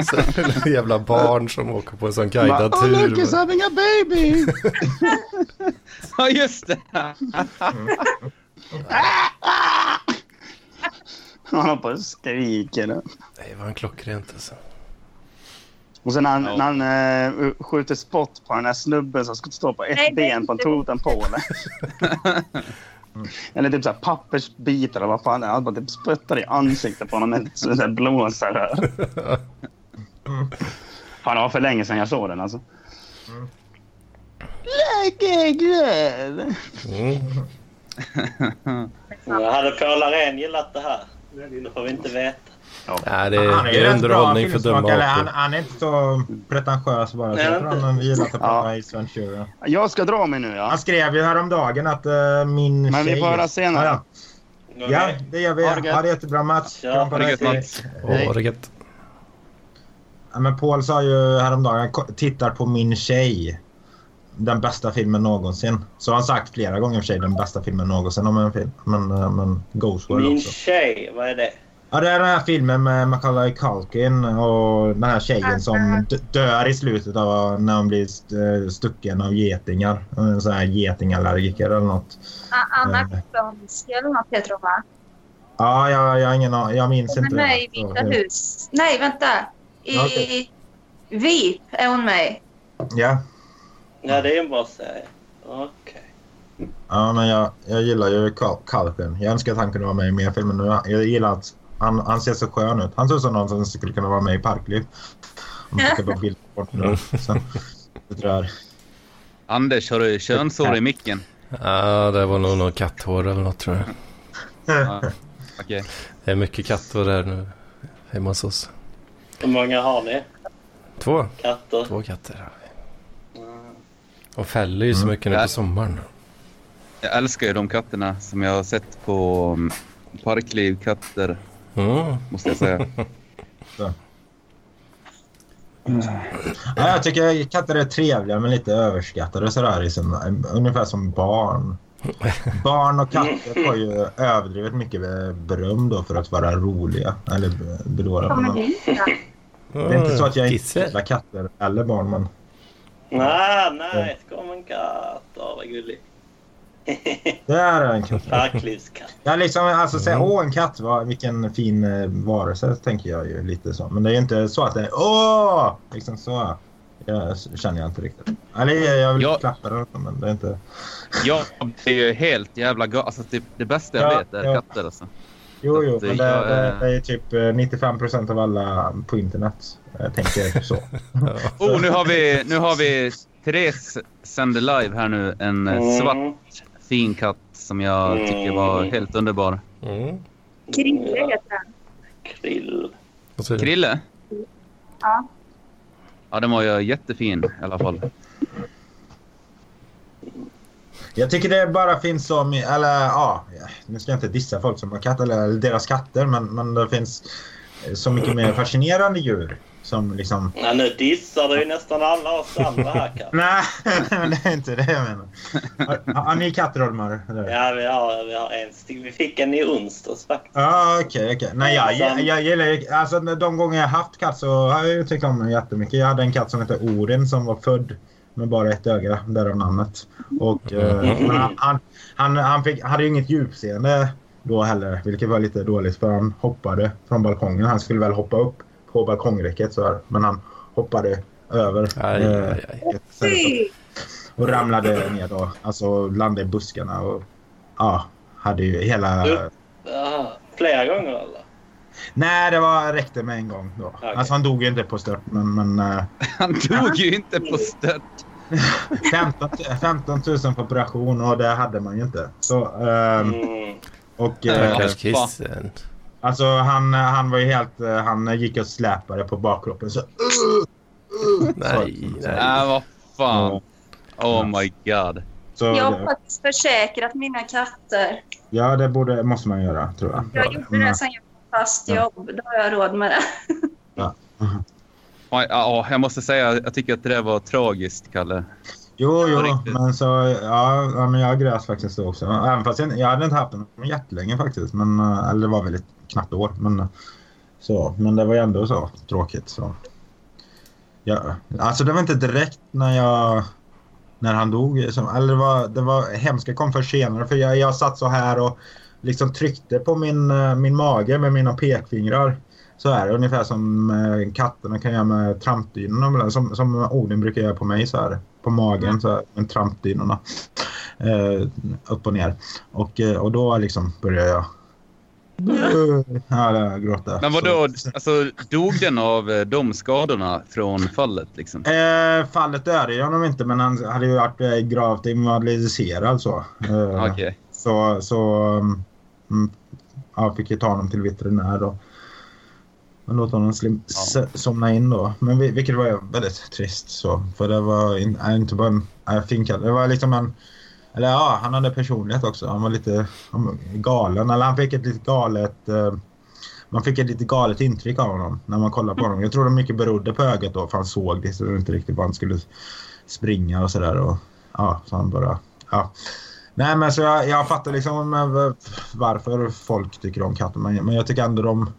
S1: Så är det en jävla barn som åker på en sån guidad
S3: Oh, look, he's
S1: tur.
S3: having a baby!
S6: Ja, just det!
S3: Han håller på och skriker.
S1: Det var en klockrent alltså.
S3: Och sen när han,
S6: Ja.
S3: när han eh, skjuter spott på den här snubben som ska stå på ett
S4: Nej, det är
S3: ben på en
S4: inte-
S3: totempåle. Eller typ så här pappersbitar eller vad fan det är. Han bara typ sprutar i ansiktet på honom med så här blåsarör. Fan, det var för länge sedan jag såg den alltså.
S2: Mm.
S3: Like a glove.
S1: Mm.
S5: Hade Polaren gillat det här? Det får vi inte veta.
S1: Nej, det
S2: Han
S1: är,
S2: är ju
S1: det är
S2: rätt
S1: underhållning
S2: bra
S1: för
S2: filmsmak,
S1: dumma
S2: eller han,
S1: apor.
S2: han är inte så pretentiös bara. Så
S5: Nej,
S2: jag tror han gillar att prata
S3: Ja.
S2: i Sven Tjure.
S3: Jag ska dra mig nu ja.
S2: Alltså, Han skrev ju häromdagen att eh, min
S3: Men vi
S2: tjej...
S3: får höra senare.
S2: Ja, ja. Ja, det gör vi.
S5: Ha det gött.
S2: Ha det jättebra Mats.
S5: Ja,
S2: Kram på
S6: ha det
S2: dig.
S6: gött, Mats.
S1: Åh, vad det gött.
S2: Ja, men Paul sa ju häromdagen, "Ko- tittar på min tjej. Den bästa filmen någonsin. Så har han sagt flera gånger i och för sig, den bästa filmen någonsin om en film. Men, eh, men Ghost World
S5: Min
S2: också.
S5: tjej, vad är det?
S2: Ja, det är den här filmen med Macaulay Culkin och den här
S4: Alltså.
S2: tjejen som d- dör i slutet av när hon blir st- eh, stucken av getingar. En sån här getingallergiker eller något.
S4: Ah, Anna
S2: Eh.
S4: Klonski eller något heter hon va?
S2: Ja, jag, jag, har ingen, an- jag minns
S4: Hon är
S2: inte.
S4: med i
S2: Så,
S4: Vita
S2: eh,
S4: hus. Nej, vänta. I
S2: Ja, okej.
S4: VIP är hon med
S2: Ja.
S5: Ja, det är en bra serie. Okej.
S2: Ja, men jag, jag gillar ju Cal- Culkin. Jag önskar att han kunde vara med i mer filmer nu. Jag gillar att han, han ser så skön ut. Han ser ut som någon som skulle kunna vara med i Parkliv. Om man tittar på bilder på honom. Så, det där.
S6: Anders, har du könshår i micken?
S1: Ja, det var nog något katthår eller något tror jag.
S6: Ja. Okej.
S1: Det är mycket katthår där nu hemma hos oss.
S5: Hur många har ni?
S1: Två.
S5: Katter?
S1: Två katter har vi. De fäller ju så mycket nu
S6: Ja.
S1: på sommaren.
S6: Jag älskar ju de katterna som jag har sett på mm, Parkliv katter,
S1: Mm.
S6: måste jag säga.
S2: Ja, jag tycker katter är trevliga men lite överskattade sådär. Liksom, ungefär som barn. Barn och katter får ju överdrivet mycket beröm då för att vara roliga. Eller bedårande.
S4: Kommer
S2: Men
S4: dit. ja.
S2: Det är inte så att jag inte
S1: Kissel.
S2: gillar katter eller barn. Men...
S5: Ah, nej, kom en katt. Åh, vad gullig.
S2: Det är en katt.
S5: Parklivskatt.
S2: Ja, liksom alltså säga
S1: Mm.
S2: åh en katt, vad, vilken fin eh, varelse tänker jag ju lite så. Men det är ju inte så att det är åh! Liksom så. Jag s- känner jag inte riktigt. Eller jag, jag vill
S6: Ja.
S2: klappa den men det är inte.
S6: Jag blir ju helt jävla ga- Alltså typ det bästa jag
S2: Ja,
S6: vet är
S2: ja.
S6: katter alltså.
S2: Jo, jo,
S6: Att, eh,
S2: men det,
S6: jag
S2: det,
S6: är-
S2: det är typ eh, 95 procent av alla på internet eh, tänker så.
S6: Oh, nu har vi, nu har vi Therese sänder live här nu. En eh,
S5: Mm.
S6: svart fin katt som jag tycker var helt underbar.
S1: Mm.
S4: Krille heter han.
S5: Krill.
S1: Vad säger du?
S6: Krille?
S4: Ja.
S6: Ja, den var ju jättefin i alla fall.
S2: Jag tycker det bara finns så my- eller ja, nu ska jag inte dissa folk som har katt eller deras katter, men, men det finns eh, så mycket mer fascinerande djur som liksom
S5: Ja, nu dissar du ju nästan alla oss andra här, katt.
S2: Nej, men det är inte det jag menar. Har, har ni katter Olmar? eller?
S5: Ja, vi har, vi har en styck. Vi fick en i onsdags faktiskt.
S2: Ja, okej, okej. Nej, jag, jag, jag gillar ju- Alltså de gånger jag haft katt så har jag ju tyckt om den jättemycket. Jag hade en katt som hette Orin som var född med bara ett öga, därav namnet. Och eh,
S1: Mm.
S2: men han, han, han, han fick, hade ju inget djupseende då heller, vilket var lite dåligt för han hoppade från balkongen. Han skulle väl hoppa upp på balkongräcket så här, men han hoppade över.
S1: Aj,
S2: eh,
S1: aj, aj.
S2: ett- så här, så- Och ramlade ner då. Alltså landade i buskarna och ja, hade ju hela...
S5: Ah, flera gånger eller?
S2: Nej, det var, räckte med en gång då.
S5: Okej.
S2: Alltså han dog ju inte på stört men, men eh,
S6: Han dog ju inte på stört.
S2: 15, 15 000 för operation och det hade man ju inte. Så, eh,
S5: Mm.
S2: och, eh,
S1: Stackars kissen.
S2: alltså han, han var ju helt, eh, han gick och släpade på bakkroppen så
S1: Nej, nej.
S6: Nej, Äh, vad fan. Oh my god.
S2: så
S4: Jag har
S2: det,
S4: faktiskt försäkrat mina katter.
S2: Ja, det borde, måste man göra tror jag.
S4: Jag gjorde
S2: Men, eh,
S4: det sen jag fick fast jobb. Då har jag råd med det.
S6: Ja, ja, jag måste säga jag tycker att det där var tragiskt, Kalle.
S2: Jo,
S6: På
S2: jo,
S6: riktigt.
S2: men så, ja, ja, men jag grät faktiskt då också. Även fast jag, jag hade inte haft den jättelänge faktiskt. Men, eh, eller det var väl ett knappt år. Men, eh, så, men det var ju ändå så tråkigt. Så. Ja, alltså det var inte direkt när jag... När han dog. Som, eller det var, det var hemska kom för senare. För jag, jag satt så här och liksom tryckte på min, eh, min mage med mina pekfingrar. Så här, ungefär som eh, katterna kan göra med trampdynorna. ibland, Som, som Odin brukar göra på mig så här. På magen så här, med trampdynorna. Eh, upp och ner. Och, eh, och då liksom började jag ja, jag gråta.
S6: Men vadå,
S2: Så-
S6: alltså, dog den av eh, de skadorna från fallet? Liksom?
S2: Eh, fallet dödade jag honom inte, men han hade ju varit eh, gravt invalidiserad så. Eh,
S6: Okej.
S2: Så, så mm, ja, fick ju ta honom till veterinär då. Men låt honom slim,
S6: Ja.
S2: s- somna in då. Men vi, vilket var väldigt trist så. För det var in, äh, inte bara en äh, fin katt. Det var liksom en Eller ja, han hade personlighet också. Han var lite han var galen. Eller han fick ett lite galet... Eh, man fick ett lite galet intryck av honom när man kollade på honom. Jag tror det mycket berodde på ögat då, för han såg det så det var inte riktigt vad han skulle springa och sådär. och Ja, så han bara... Ja. Nej, men så jag, jag fattar liksom eh, varför folk tycker om katter. Men, men jag tycker ändå de...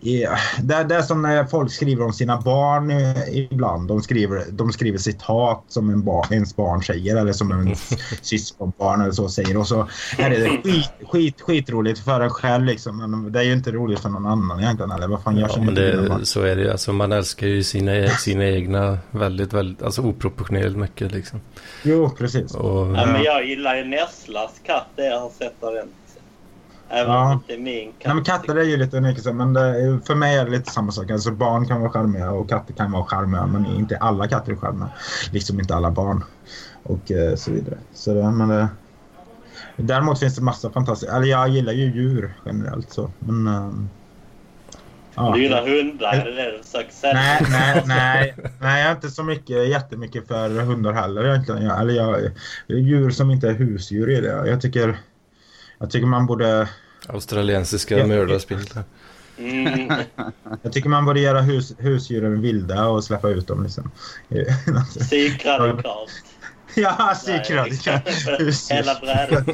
S2: Ja, Det, är- det är som när folk skriver om sina barn eh, ibland. De skriver, de skriver citat som en bar, ens barn säger eller som en s- syskonbarn eller så säger. Och så är det skit, skit, skitroligt för en själv liksom. Men det är ju inte roligt för någon annan egentligen. Eller vad fan, jag
S1: Ja,
S2: känner
S1: men
S2: inte till de här.
S1: det, så är det ju. Alltså, man älskar ju sina, sina egna väldigt, väldigt, alltså oproportionerligt mycket liksom.
S2: Jo, precis.
S1: Och,
S5: Ja, men jag gillar ju Nesslas katt. Det jag har sett av den. Även
S2: Ja.
S5: om det inte är min katt.
S2: Nej, men katter är ju lite unika, så, men det, är- för mig är det lite samma sak. Alltså, barn kan vara charmiga och katter kan vara charmiga, men inte alla katter är charmiga. Liksom inte alla barn och eh, så vidare. Så det, men det, däremot finns det massa fantastiska... Eller jag gillar ju djur generellt så, men... ehm, ja.
S5: Du gillar hundar, är det det du försöker säga?
S2: Nej, nej, nej, nej, jag är inte så mycket, jättemycket för hundar heller egentligen. Jag, eller jag, djur som inte är husdjur är det. Jag tycker, jag tycker man borde...
S1: australiensiska
S2: Ja.
S1: mördarspindlar.
S5: Mm.
S2: Jag tycker man borde göra hus, husdjuren vilda och släppa ut dem. Liksom.
S5: Psykradikalt.
S2: ja, psykrödika husdjur.
S5: Hela brädan.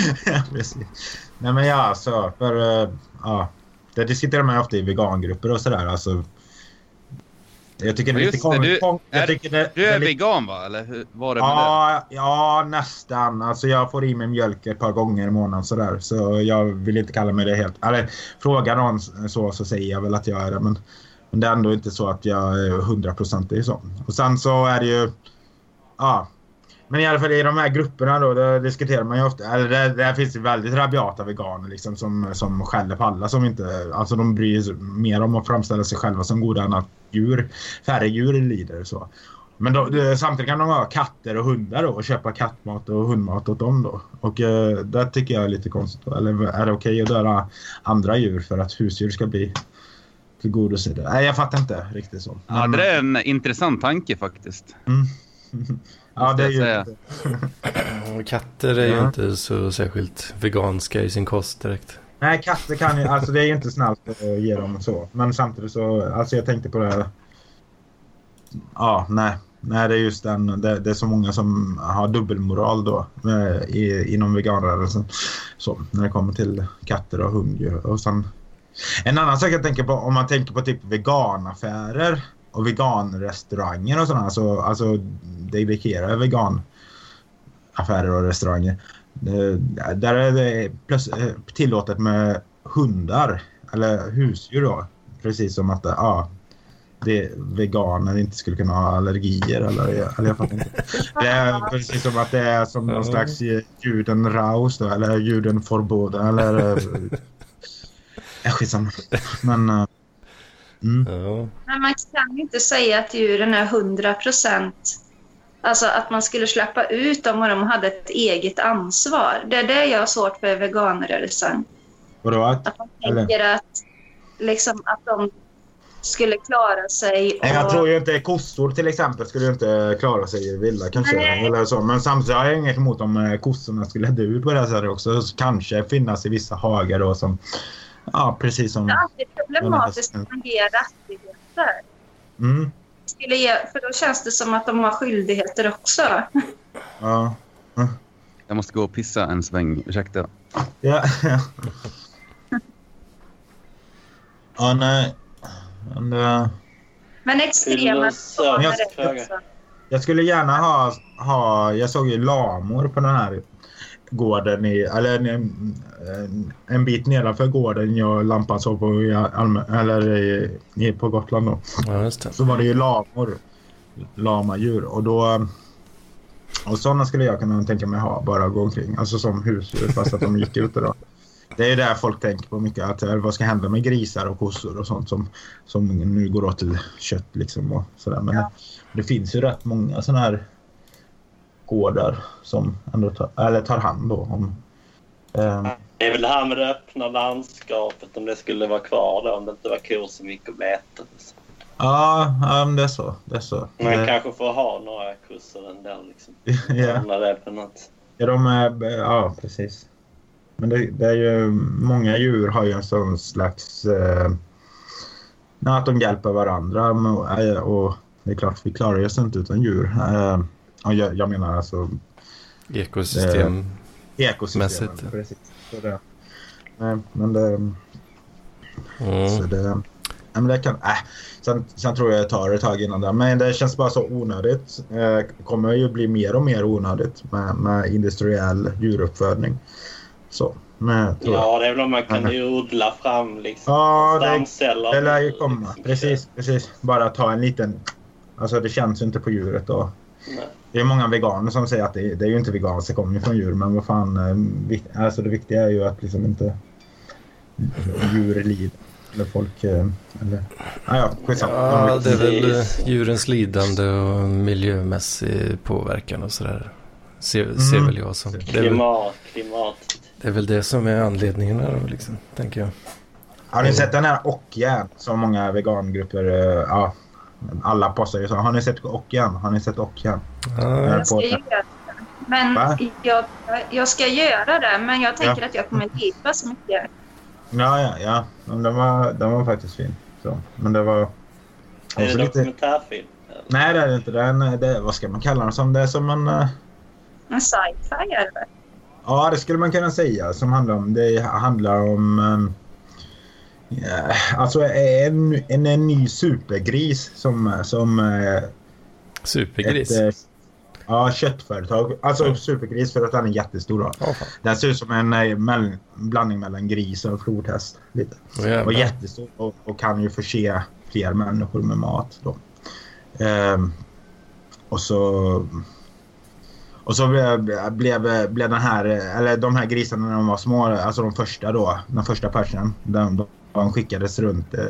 S2: ja, precis. Nej, men ja, så för... eh, Ja, det diskuterar man ju ofta i vegangrupper och sådär. Alltså, jag tycker det är
S6: Ja,
S2: lite
S6: just det, du-
S2: konstigt.
S6: är-
S2: Jag tycker det,
S6: Du
S2: det
S6: är
S2: lite-
S6: vegan va? Eller hur var det med det?
S2: Ja, ja, nästan. Alltså jag får i mig mjölk ett par gånger i månaden sådär. Så jag vill inte kalla mig det helt. Eller frågar någon så, så säger jag väl att jag är det. Men, men det är ändå inte så att jag är hundraprocentig så. Och sen så är det ju... Ja. Men i alla fall i de här grupperna då, där diskuterar man ju ofta, eller där, där finns det väldigt rabiata veganer liksom som, som skäller på alla som inte, alltså de bryr sig mer om att framställa sig själva som goda än att djur, färre djur lider och så. Men då, det- samtidigt kan de ha katter och hundar då och köpa kattmat och hundmat åt dem då. Och eh, det tycker jag är lite konstigt. då. Eller är det okej att döda andra djur för att husdjur ska bli tillgodosedda? Nej, jag fattar inte riktigt så.
S6: Ja,
S2: Men-
S6: det är en intressant tanke faktiskt.
S2: ja, det är
S6: måste jag
S2: ju...
S6: säga.
S1: Och Katter är ju
S2: Ja.
S1: inte så särskilt veganska i sin kost direkt.
S2: Nej, katter kan ju... Alltså det är ju inte snällt att eh, ge dem så. Men samtidigt så... Alltså jag tänkte på det här. Ja, nej. Nej, det är just den. Det, det är så många som har dubbelmoral då eh, i, inom veganrörelsen. Så, när det kommer till katter och hunddjur. Och sen, en annan sak jag tänker på, om man tänker på typ veganaffärer och veganrestauranger och sådana. Så, alltså, det indikerar veganaffärer och restauranger. Eh, Där är det plus, eh, tillåtet med hundar, eller husdjur då. Precis som att ja, det, veganer inte skulle kunna ha allergier. Eller, eller jag fattar inte. Det är precis som att det är som någon slags eh, juden raus då, eller juden forboda. Eller, äh, skitsamma. Men, eh, mm,
S1: Ja.
S4: Men man kan ju inte säga att djuren är 100 procent... Alltså att man skulle släppa ut dem och de hade ett eget ansvar. Det är det jag har svårt för i veganrörelsen.
S2: vadå? Att-
S4: Att man
S2: Eller-
S4: tänker att, liksom, att de skulle klara sig.
S2: Nej, Eh, jag
S4: och-
S2: tror ju inte kossor till exempel skulle ju inte klara sig i villa kanske.
S4: Nej.
S2: Eller så. Men samtidigt har jag inget emot om eh, kossorna skulle dö ut på det här sättet också. Så kanske finnas i vissa hagar då som... Ja, precis som...
S4: Det är alltid problematiskt att man ger rättigheter.
S2: Mm,
S4: Skulle ge, för då känns det som att de har skyldigheter också.
S2: ja.
S6: Jag måste gå och pissa en sväng, ursäkta.
S2: Ja, ja. ja nej. Men, eh,
S4: Men extrema
S5: Filosofisk
S4: veganer är det
S5: fråga.
S4: också.
S2: Jag skulle gärna ha, ha... Jag såg ju lamor på den här gården i... Eller en, en, en bit nedanför gården jag och lampan såg på, i Alm- eller i, i, på Gotland då.
S1: ja, just det.
S2: Så var det ju lamor. Lamadjur. Och då... Och sådana skulle jag kunna tänka mig ha bara gå omkring. Alltså som husdjur fast att de gick ute då. Det är ju där folk tänker på mycket. Att, eh, vad ska hända med grisar och kossor och sånt som, som nu går åt till kött liksom och sådär. Men det, det finns ju rätt många sådana här gårdar som ändå tar, eller tar hand då om. ehm,
S5: Det är väl det här med det öppna landskapet om det skulle vara kvar då, om det inte var kor som gick och bet.
S2: Ja, ja, men det är så. Det är så.
S5: Man
S2: Det-
S5: kanske får ha några kossor ändå liksom.
S2: ja.
S5: Ordna det på något.
S2: Ja, de är, ja, precis. Men det, det är ju, många djur har ju en sån slags... Eh, nej, att de hjälper varandra. men- eh, Och det är klart, vi klarar oss inte utan djur. Eh, och jag, jag menar alltså
S1: Ekosystem.
S2: ekosystemet.
S1: Mässigt.
S2: Precis. Så det, nej, men det... Så
S1: Mm.
S2: det, ja, men det kan, äh, sen, sen tror jag det tar ett tag innan det. Men det känns bara så onödigt. Eh, kommer ju bli mer och mer onödigt med, med industriell djuruppfödning. Så, men, tror jag.
S5: Ja, det är väl om man kan odla fram liksom
S2: Ja, det-
S5: stamceller.
S2: Det lär ju komma.
S5: Liksom,
S2: Precis, precis. Bara ta en liten... Alltså det känns ju inte på djuret då.
S5: Nej.
S2: Det är många veganer som säger att det, det är ju inte veganskt, det kommer ju från djur. Men vad fan, eh, vi- alltså det viktiga är ju att liksom inte djur lider. Eller folk... eh, Eller, ah, ja, skitsamma.
S1: Ja, det är väl
S5: Precis.
S1: eh, djurens lidande och miljömässig påverkan och sådär. Ser, ser
S2: Mm.
S1: väl jag som. Det är väl,
S5: Klimat, klimat.
S1: det är väl det som är anledningen här då, liksom, tänker jag.
S2: Har ni sett den här Ockjärn som många vegangrupper... eh, Ja, alla postar ju så. Har ni sett Ockjärn? Har ni sett Ockjärn?
S1: Ja,
S4: Jag ska göra det. Men
S2: Va?
S4: jag, jag ska göra det, men jag tänker att jag kommer leva så mycket.
S2: Ja, ja, ja. Men den var, den var faktiskt fin. Så. Men det var...
S5: Är
S2: också
S5: det dokumentärfilm? eller?
S2: Nej, det är det inte. Det är en, det, är- vad ska man kalla den som? Det är som en... eh,
S4: En sci-fi eller?
S2: Ja, det skulle man kunna säga. Som handlar om... Det handlar om... ehm, ja, alltså en, en, en ny supergris som, som eh,
S1: Supergris.
S2: Ett, eh, ja, köttföretag. Alltså supergris för att den är jättestor. Då.
S1: Ja, fan.
S2: Den ser ut som en eh, mell- blandning mellan gris och flodhäst. Lite.
S1: Åh, jävlar.
S2: Och jättestor och, och kan ju förse fler människor med mat. Då. Ehm, och så... Och så blev, blev, blev den här, eller de här grisarna när de var små, alltså de första då, den första persen, de, de skickades runt eh,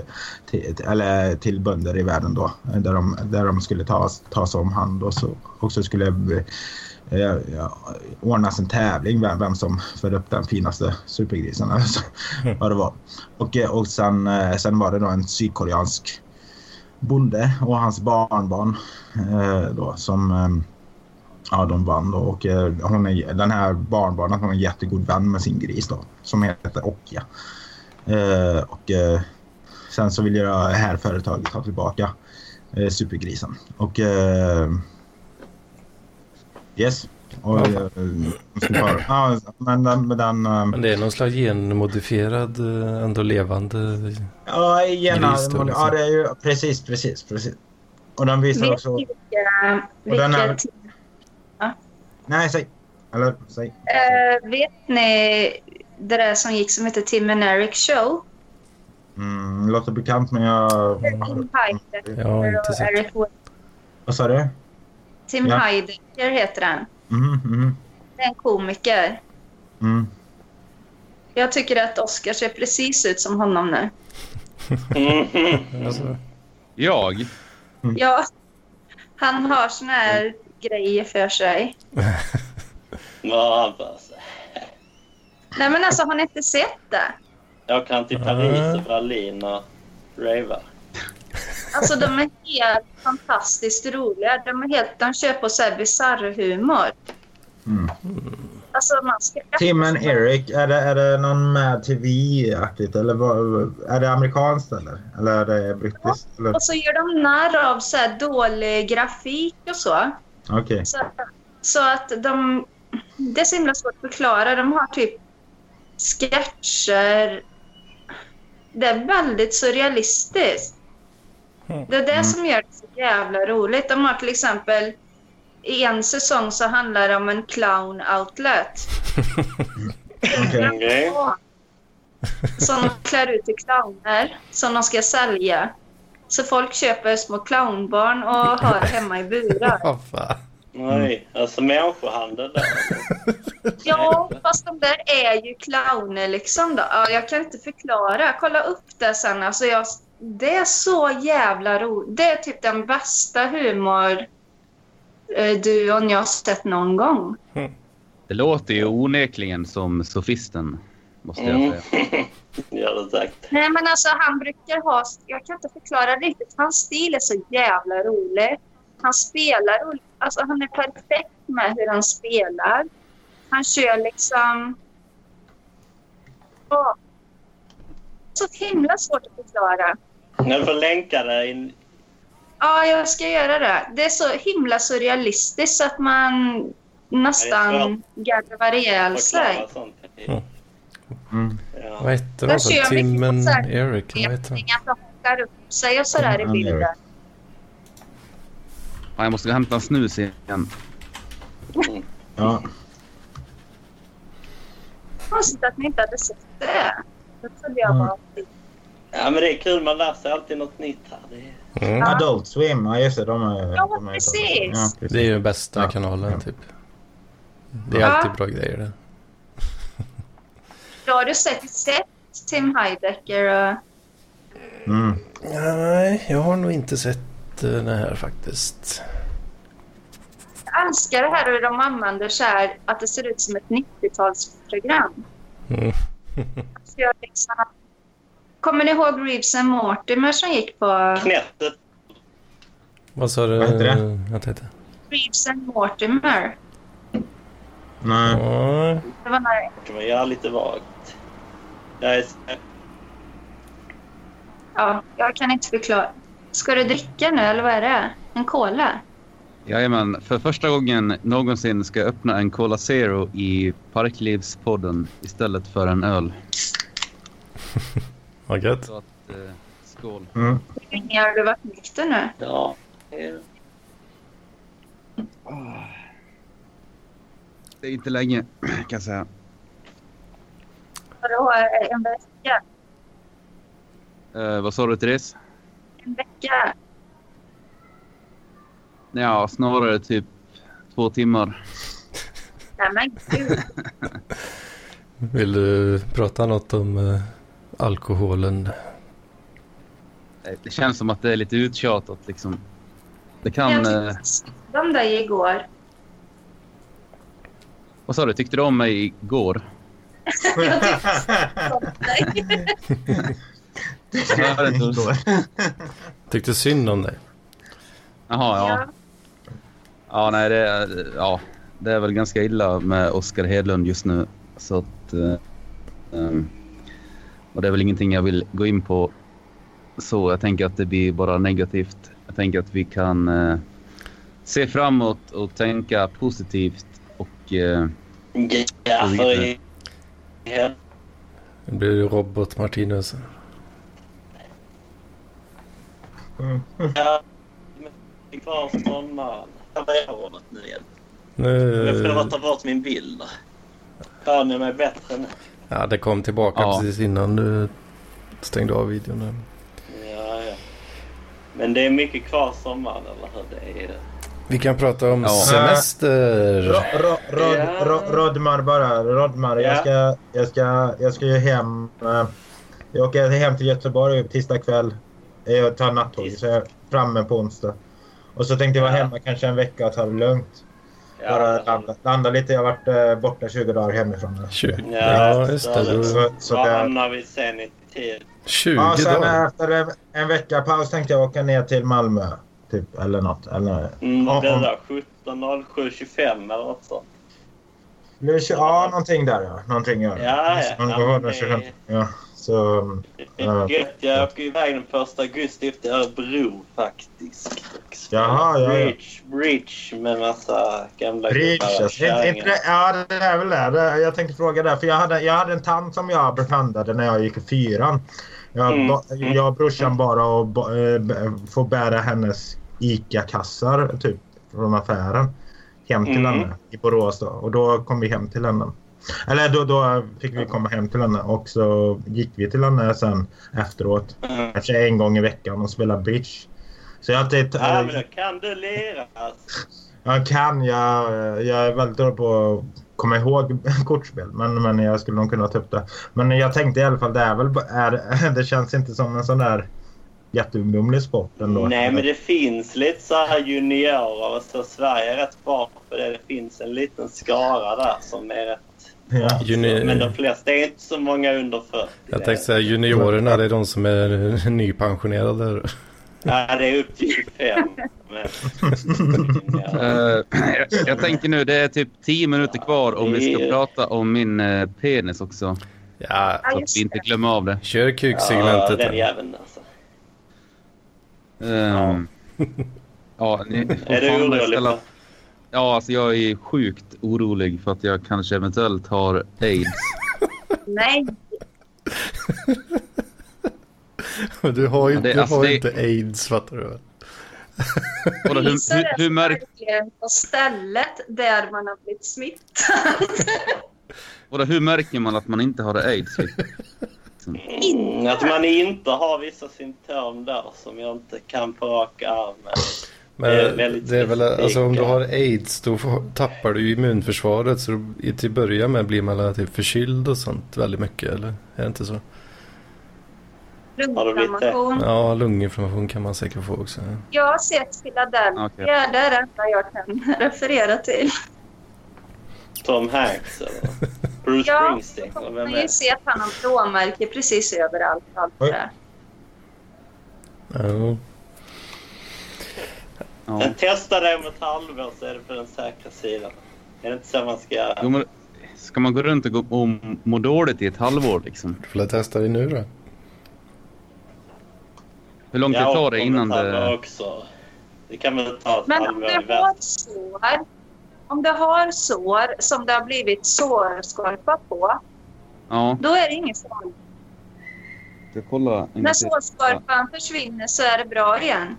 S2: till, eller till bönder i världen då, eh, där de, där de skulle tas, tas om hand och så, och så skulle eh, ja, ordnas en tävling vem, vem som födde upp den finaste supergrisen. eller så, vad det var. Och, eh, och sen, eh, sen var det då en sydkoreansk bonde och hans barnbarn eh, då, som eh, Ja, de vann då och eh, hon är, den här barnbarnet hon är en jättegod vän med sin gris då som heter Okja. Eh, och eh, sen så vill ju det här företaget ta tillbaka eh, supergrisen. Och eh, yes. Och, eh, de skulle bara- ja, men den, men den eh,
S1: Men det är någon slags genmodifierad, eh, ändå levande.
S2: Ja, igen.
S1: Gris då, liksom.
S2: Ja, det är ju precis, precis, precis. Och de visar
S4: Vet
S2: också...
S4: ni vilka,
S2: Och den är-
S4: vilka,
S2: Nej, säg. Eller säg.
S4: eh, vet ni det där som gick som heter Tim and Eric Show?
S2: Mm, låter bekant, men jag...
S4: Tim Heidecker
S1: Jag har inte
S4: och
S1: sett.
S4: Eric Wood.
S2: Vad sa du?
S4: Tim
S2: Ja.
S4: Heidecker heter han.
S2: Mm, mm,
S4: Det är en komiker.
S2: mm.
S4: Jag tycker att Oscar ser precis ut som honom
S2: Mm.
S4: nu.
S1: Alltså,
S6: Jag?
S4: Ja, han har såna
S2: Mm.
S4: här grejer för sig.
S5: Ja, alltså.
S4: Nej men alltså har ni inte sett det?
S5: Jag kan till Paris och Berlin och rava.
S4: Alltså de är helt fantastiskt roliga. De, är helt, de kör på så här bisarrhumor.
S2: Mm.
S4: Alltså man ska...
S2: Tim and Eric, är det, är det någon med TV-aktigt? Eller vad, är det amerikanskt eller? Eller är det brittiskt? Eller?
S4: Och så gör de narr av så här dålig grafik och så.
S2: Okej.
S4: Så, så att de... Det är så himla svårt att förklara. De har typ sketcher. Det är väldigt surrealistiskt. Det är det som gör det så jävla roligt. De har till exempel... I en säsong så handlar det om en clown-outlet.
S2: okej.
S5: Okej.
S4: Som de klär ut till clowner som de ska sälja. Så folk köper små clownbarn och har hemma i burar.
S1: ja, fan.
S2: Mm.
S5: Oj, alltså människohandel där.
S4: Ja, fast de där är ju clowner liksom då. Ja, jag kan inte förklara. Kolla upp det sen. Alltså jag, det är så jävla roligt. Det är typ den bästa humor eh, du och jag har sett någon gång.
S6: Det låter ju onekligen som sofisten, måste jag
S5: Mm.
S6: säga.
S5: Ja, det sagt.
S4: Nej, men alltså han brukar ha... Jag kan inte förklara riktigt. Hans stil är så jävla rolig. Han spelar... roligt. Alltså han är perfekt med hur han spelar. Han kör liksom... Ja. Så himla svårt att förklara.
S5: Jag får länka det in.
S4: Ja, jag ska göra det. Det är så himla surrealistiskt så att man
S5: Ja, det är
S4: nästan garvar ihjäl sig.
S5: Förklara sånt.
S1: Mm.
S2: Mm.
S5: Ja.
S1: Vad hette
S4: Jag
S1: de? för?
S4: kör
S1: Tim
S4: mycket
S1: and
S4: på så här-
S1: Eric? Vad heter han?
S4: Retning att de hotar upp sig och sådär i
S2: Mm,
S4: bilden.
S2: Erik.
S6: Fan, jag måste gå och hämta en snus igen.
S2: Ja.
S4: Konstigt att ni inte hade sett det. Då trodde jag
S2: Mm.
S4: bara...
S5: ja, men det är kul. Man lär sig alltid något nytt här. Det är...
S1: Mm.
S2: Adult Swim, ja just det. De är,
S4: Ja,
S2: de är
S4: precis.
S2: Ja,
S1: Det är ju den bästa
S2: Ja.
S1: kanalen
S2: Ja.
S1: typ. Det är
S4: Ja.
S1: alltid bra grejer där.
S4: Då har du säkert sett Tim Heidecker och...
S2: Mm.
S1: Nej, jag har nog inte sett eh, det här faktiskt.
S4: Jag älskar det här hur de använder så här att det ser ut som ett 90-talsprogram.
S1: Mm.
S4: Så jag liksom... Kommer ni ihåg Reeves and Mortimer som gick på...
S5: Knättet.
S1: Vad sa du?
S2: Vad heter det?
S1: Jag tänkte.
S4: Reeves and Mortimer.
S2: Nej.
S1: Ja.
S4: Det var när...
S5: Det var jag lite vagt. Jag är...
S4: Ja, jag kan inte förklara. Ska du dricka nu eller vad är det? En cola?
S6: Jajamän, för första gången någonsin ska jag öppna en Cola Zero i Parklivspodden istället för en öl.
S1: Vad gött.
S6: Så att, eh, skål.
S2: Mm.
S4: Hur länge har du varit nykter nu?
S5: Ja. Eh,
S6: Det är inte länge kan jag säga.
S4: Vadå, en vecka?
S6: Eh, vad sa du Therese?
S4: En vecka?
S6: Ja, snarare typ två timmar.
S4: Nej men gud.
S1: Vill du prata något om eh, alkoholen?
S6: Eh, Det känns som att det är lite uttjatat liksom. Det kan...
S4: Jag
S6: Eh,
S4: tyckte synd om dig igår.
S6: vad sa du? Tyckte du om mig igår?
S4: Synd om dig.
S6: Ja, det är inte så.
S1: Tyckte synd om dig.
S6: Jaha, ja.
S4: Ja.
S6: Ja, nej, det, är- ja, det är väl ganska illa med Oskar Hedlund just nu. Så att, eh, ehm, och det är väl ingenting jag vill gå in på. Så jag tänker att det blir bara negativt. Jag tänker att vi kan eh, se framåt och tänka positivt. Och eh,
S5: Ja, för... Ja.
S1: Nu blir du robot Martinus.
S5: Ja, men det är kvar från man. Här var jag ordnat nu igen. Jag får
S1: Nu...
S5: bara ta bort min bild. Hör ni mig bättre nu?
S1: Ja, det kom tillbaka
S6: Ja.
S1: precis innan du stängde av videon. där.
S5: Ja, ja. Men det är mycket kvar sommaren, eller hur? Det är...
S1: Vi kan prata om
S6: Ja.
S1: semester.
S2: Ro- ro- rod-
S5: Ja.
S2: ro- Rodmar bara. Rodmar, jag
S5: Ja.
S2: ska, jag ska, jag ska ju hem. eh, Jag åker hem till Göteborg tisdag kväll. Eh, Jag tar nattåg, så jag är framme på onsdag. Och så tänkte jag vara
S5: Ja.
S2: hemma kanske en vecka och ta det lugnt.
S5: Ja,
S2: Bara
S5: det
S2: landa, landa lite. Jag har varit eh, borta 20 dagar hemifrån. nu.
S1: Tju-
S5: Ja,
S1: ja, just
S5: så-
S1: det. Då...
S2: Så, så
S5: Var
S2: det,
S5: hamnar vi sen i tid?
S1: 20
S2: ja, sen
S1: dagar.
S2: efter en, en vecka paus tänkte jag åka ner till Malmö. Typ, eller något. Eller,
S5: Mm,
S2: Ja,
S5: det
S2: ja.
S5: där 17.07.25 eller något sånt.
S2: Blir det tjugo- Ja, någonting där ja. Någonting ja.
S5: Ja, ja.
S2: Någon- någon-
S5: Ja, det-
S2: 25. ja. Så... mm, Ja.
S5: Gött, jag åker iväg den 1 augusti upp till Örebro faktiskt.
S2: Jaha, ja, ja.
S5: Bridge, bridge med massa gamla
S2: Preach,
S5: gubbar och
S2: alltså. Inte- inte
S5: kärringar.
S2: det- Ja, det är väl det. det. Jag tänkte fråga det. För jag hade, jag hade en tant som jag befändade när jag gick i fyran. Jag,
S5: Mm.
S2: ba, jag och brorsan bara och ba, eh, b- får bära hennes ICA-kassar typ från affären hem till
S5: Mm.
S2: henne i Borås. Då. Och då kom vi hem till henne. Eller då, då fick vi komma hem till henne och så gick vi till henne sen efteråt.
S5: Mm.
S2: Kanske en gång i veckan och spelade bridge. Så jag har inte...
S5: Ja, men då kan du lira alltså.
S2: Jag kan. Jag, jag är väldigt dålig på att komma ihåg kortspel. Men, men jag skulle nog kunna ta upp det. Men jag tänkte i alla fall, det, är väl, ba- är, det känns inte som en sån där jätteungdomlig sport ändå.
S5: Nej, men det finns lite så här juniorer och så. Sverige är rätt bra på det. Det finns en liten skara där som är rätt...
S2: Ja.
S1: Juni...
S5: Men de flesta är inte så många under 40.
S1: Jag tänkte säga juniorerna, det är de som är nypensionerade.
S5: Ja, det är upp till 25. Men,
S6: Eh, jag, jag tänker nu, det är typ 10 minuter kvar om vi ska prata om min eh, penis också.
S1: Ja,
S4: Ja,
S6: Så att
S4: just
S6: vi inte
S4: det.
S6: glömmer av det.
S1: kör
S5: ja,
S1: kuksegmentet.
S5: den
S1: här.
S5: jäveln alltså.
S6: Ehm, ja, ni får
S5: Är du
S6: fan
S5: orolig?
S6: ställa-
S5: för-
S6: Ja, alltså jag är sjukt orolig för att jag kanske eventuellt har aids.
S4: Nej,
S1: Du har ju
S6: Ja, det-
S1: du
S6: alltså,
S1: har
S6: det-
S1: inte aids fattar du väl?
S6: Och då, hur,
S4: visar
S6: hur, hur
S4: det
S6: märk,
S4: sig verkligen på stället där man har blivit smittad.
S6: och då, hur märker man att man inte har aids?
S5: Mm, Att man inte har vissa symptom där som jag inte kan på rak arm.
S1: Men
S5: Det är väldigt
S1: det är väl,
S5: specifika.
S1: alltså, om du har aids då får, tappar du ju immunförsvaret så du- i- till början med blir man relativt förkyld och sånt väldigt mycket eller? Är det inte så?
S5: Har du blivit det?
S4: Lunginflammation.
S1: Ja, lunginflammation kan man säkert få också. ja.
S4: Jag har sett Philadelphia.
S6: Okej.
S4: Det är det enda jag kan referera till.
S5: Tom Hanks eller Bruce
S4: Ja,
S5: Springsteen.
S4: Man
S5: eller Vem
S4: kan
S5: är
S4: ju se att han har blåmärken precis överallt. och Allt
S2: Oj.
S4: det där.
S1: Ja.
S6: Ja.
S5: Men testa det om ett halvår så är det på den säkra sidan. Är det inte så man ska göra?
S6: Jo, men, ska man gå runt och, gå, och må dåligt i ett halvår? Liksom?
S1: Du får väl testa dig nu då.
S6: Hur lång tid
S5: Ja,
S6: tar det
S5: om
S6: innan
S5: ett halvår
S6: det...
S5: Också. Det kan väl ta ett
S4: Men om
S5: halvår
S4: du
S5: i
S4: har
S5: värsta
S4: sår, om du har sår som det har blivit sårskorpa på,
S6: Ja,
S4: då är det inget farligt.
S6: jag ska kolla. en
S4: När
S6: gång till.
S4: sårskorpan försvinner så är det bra igen.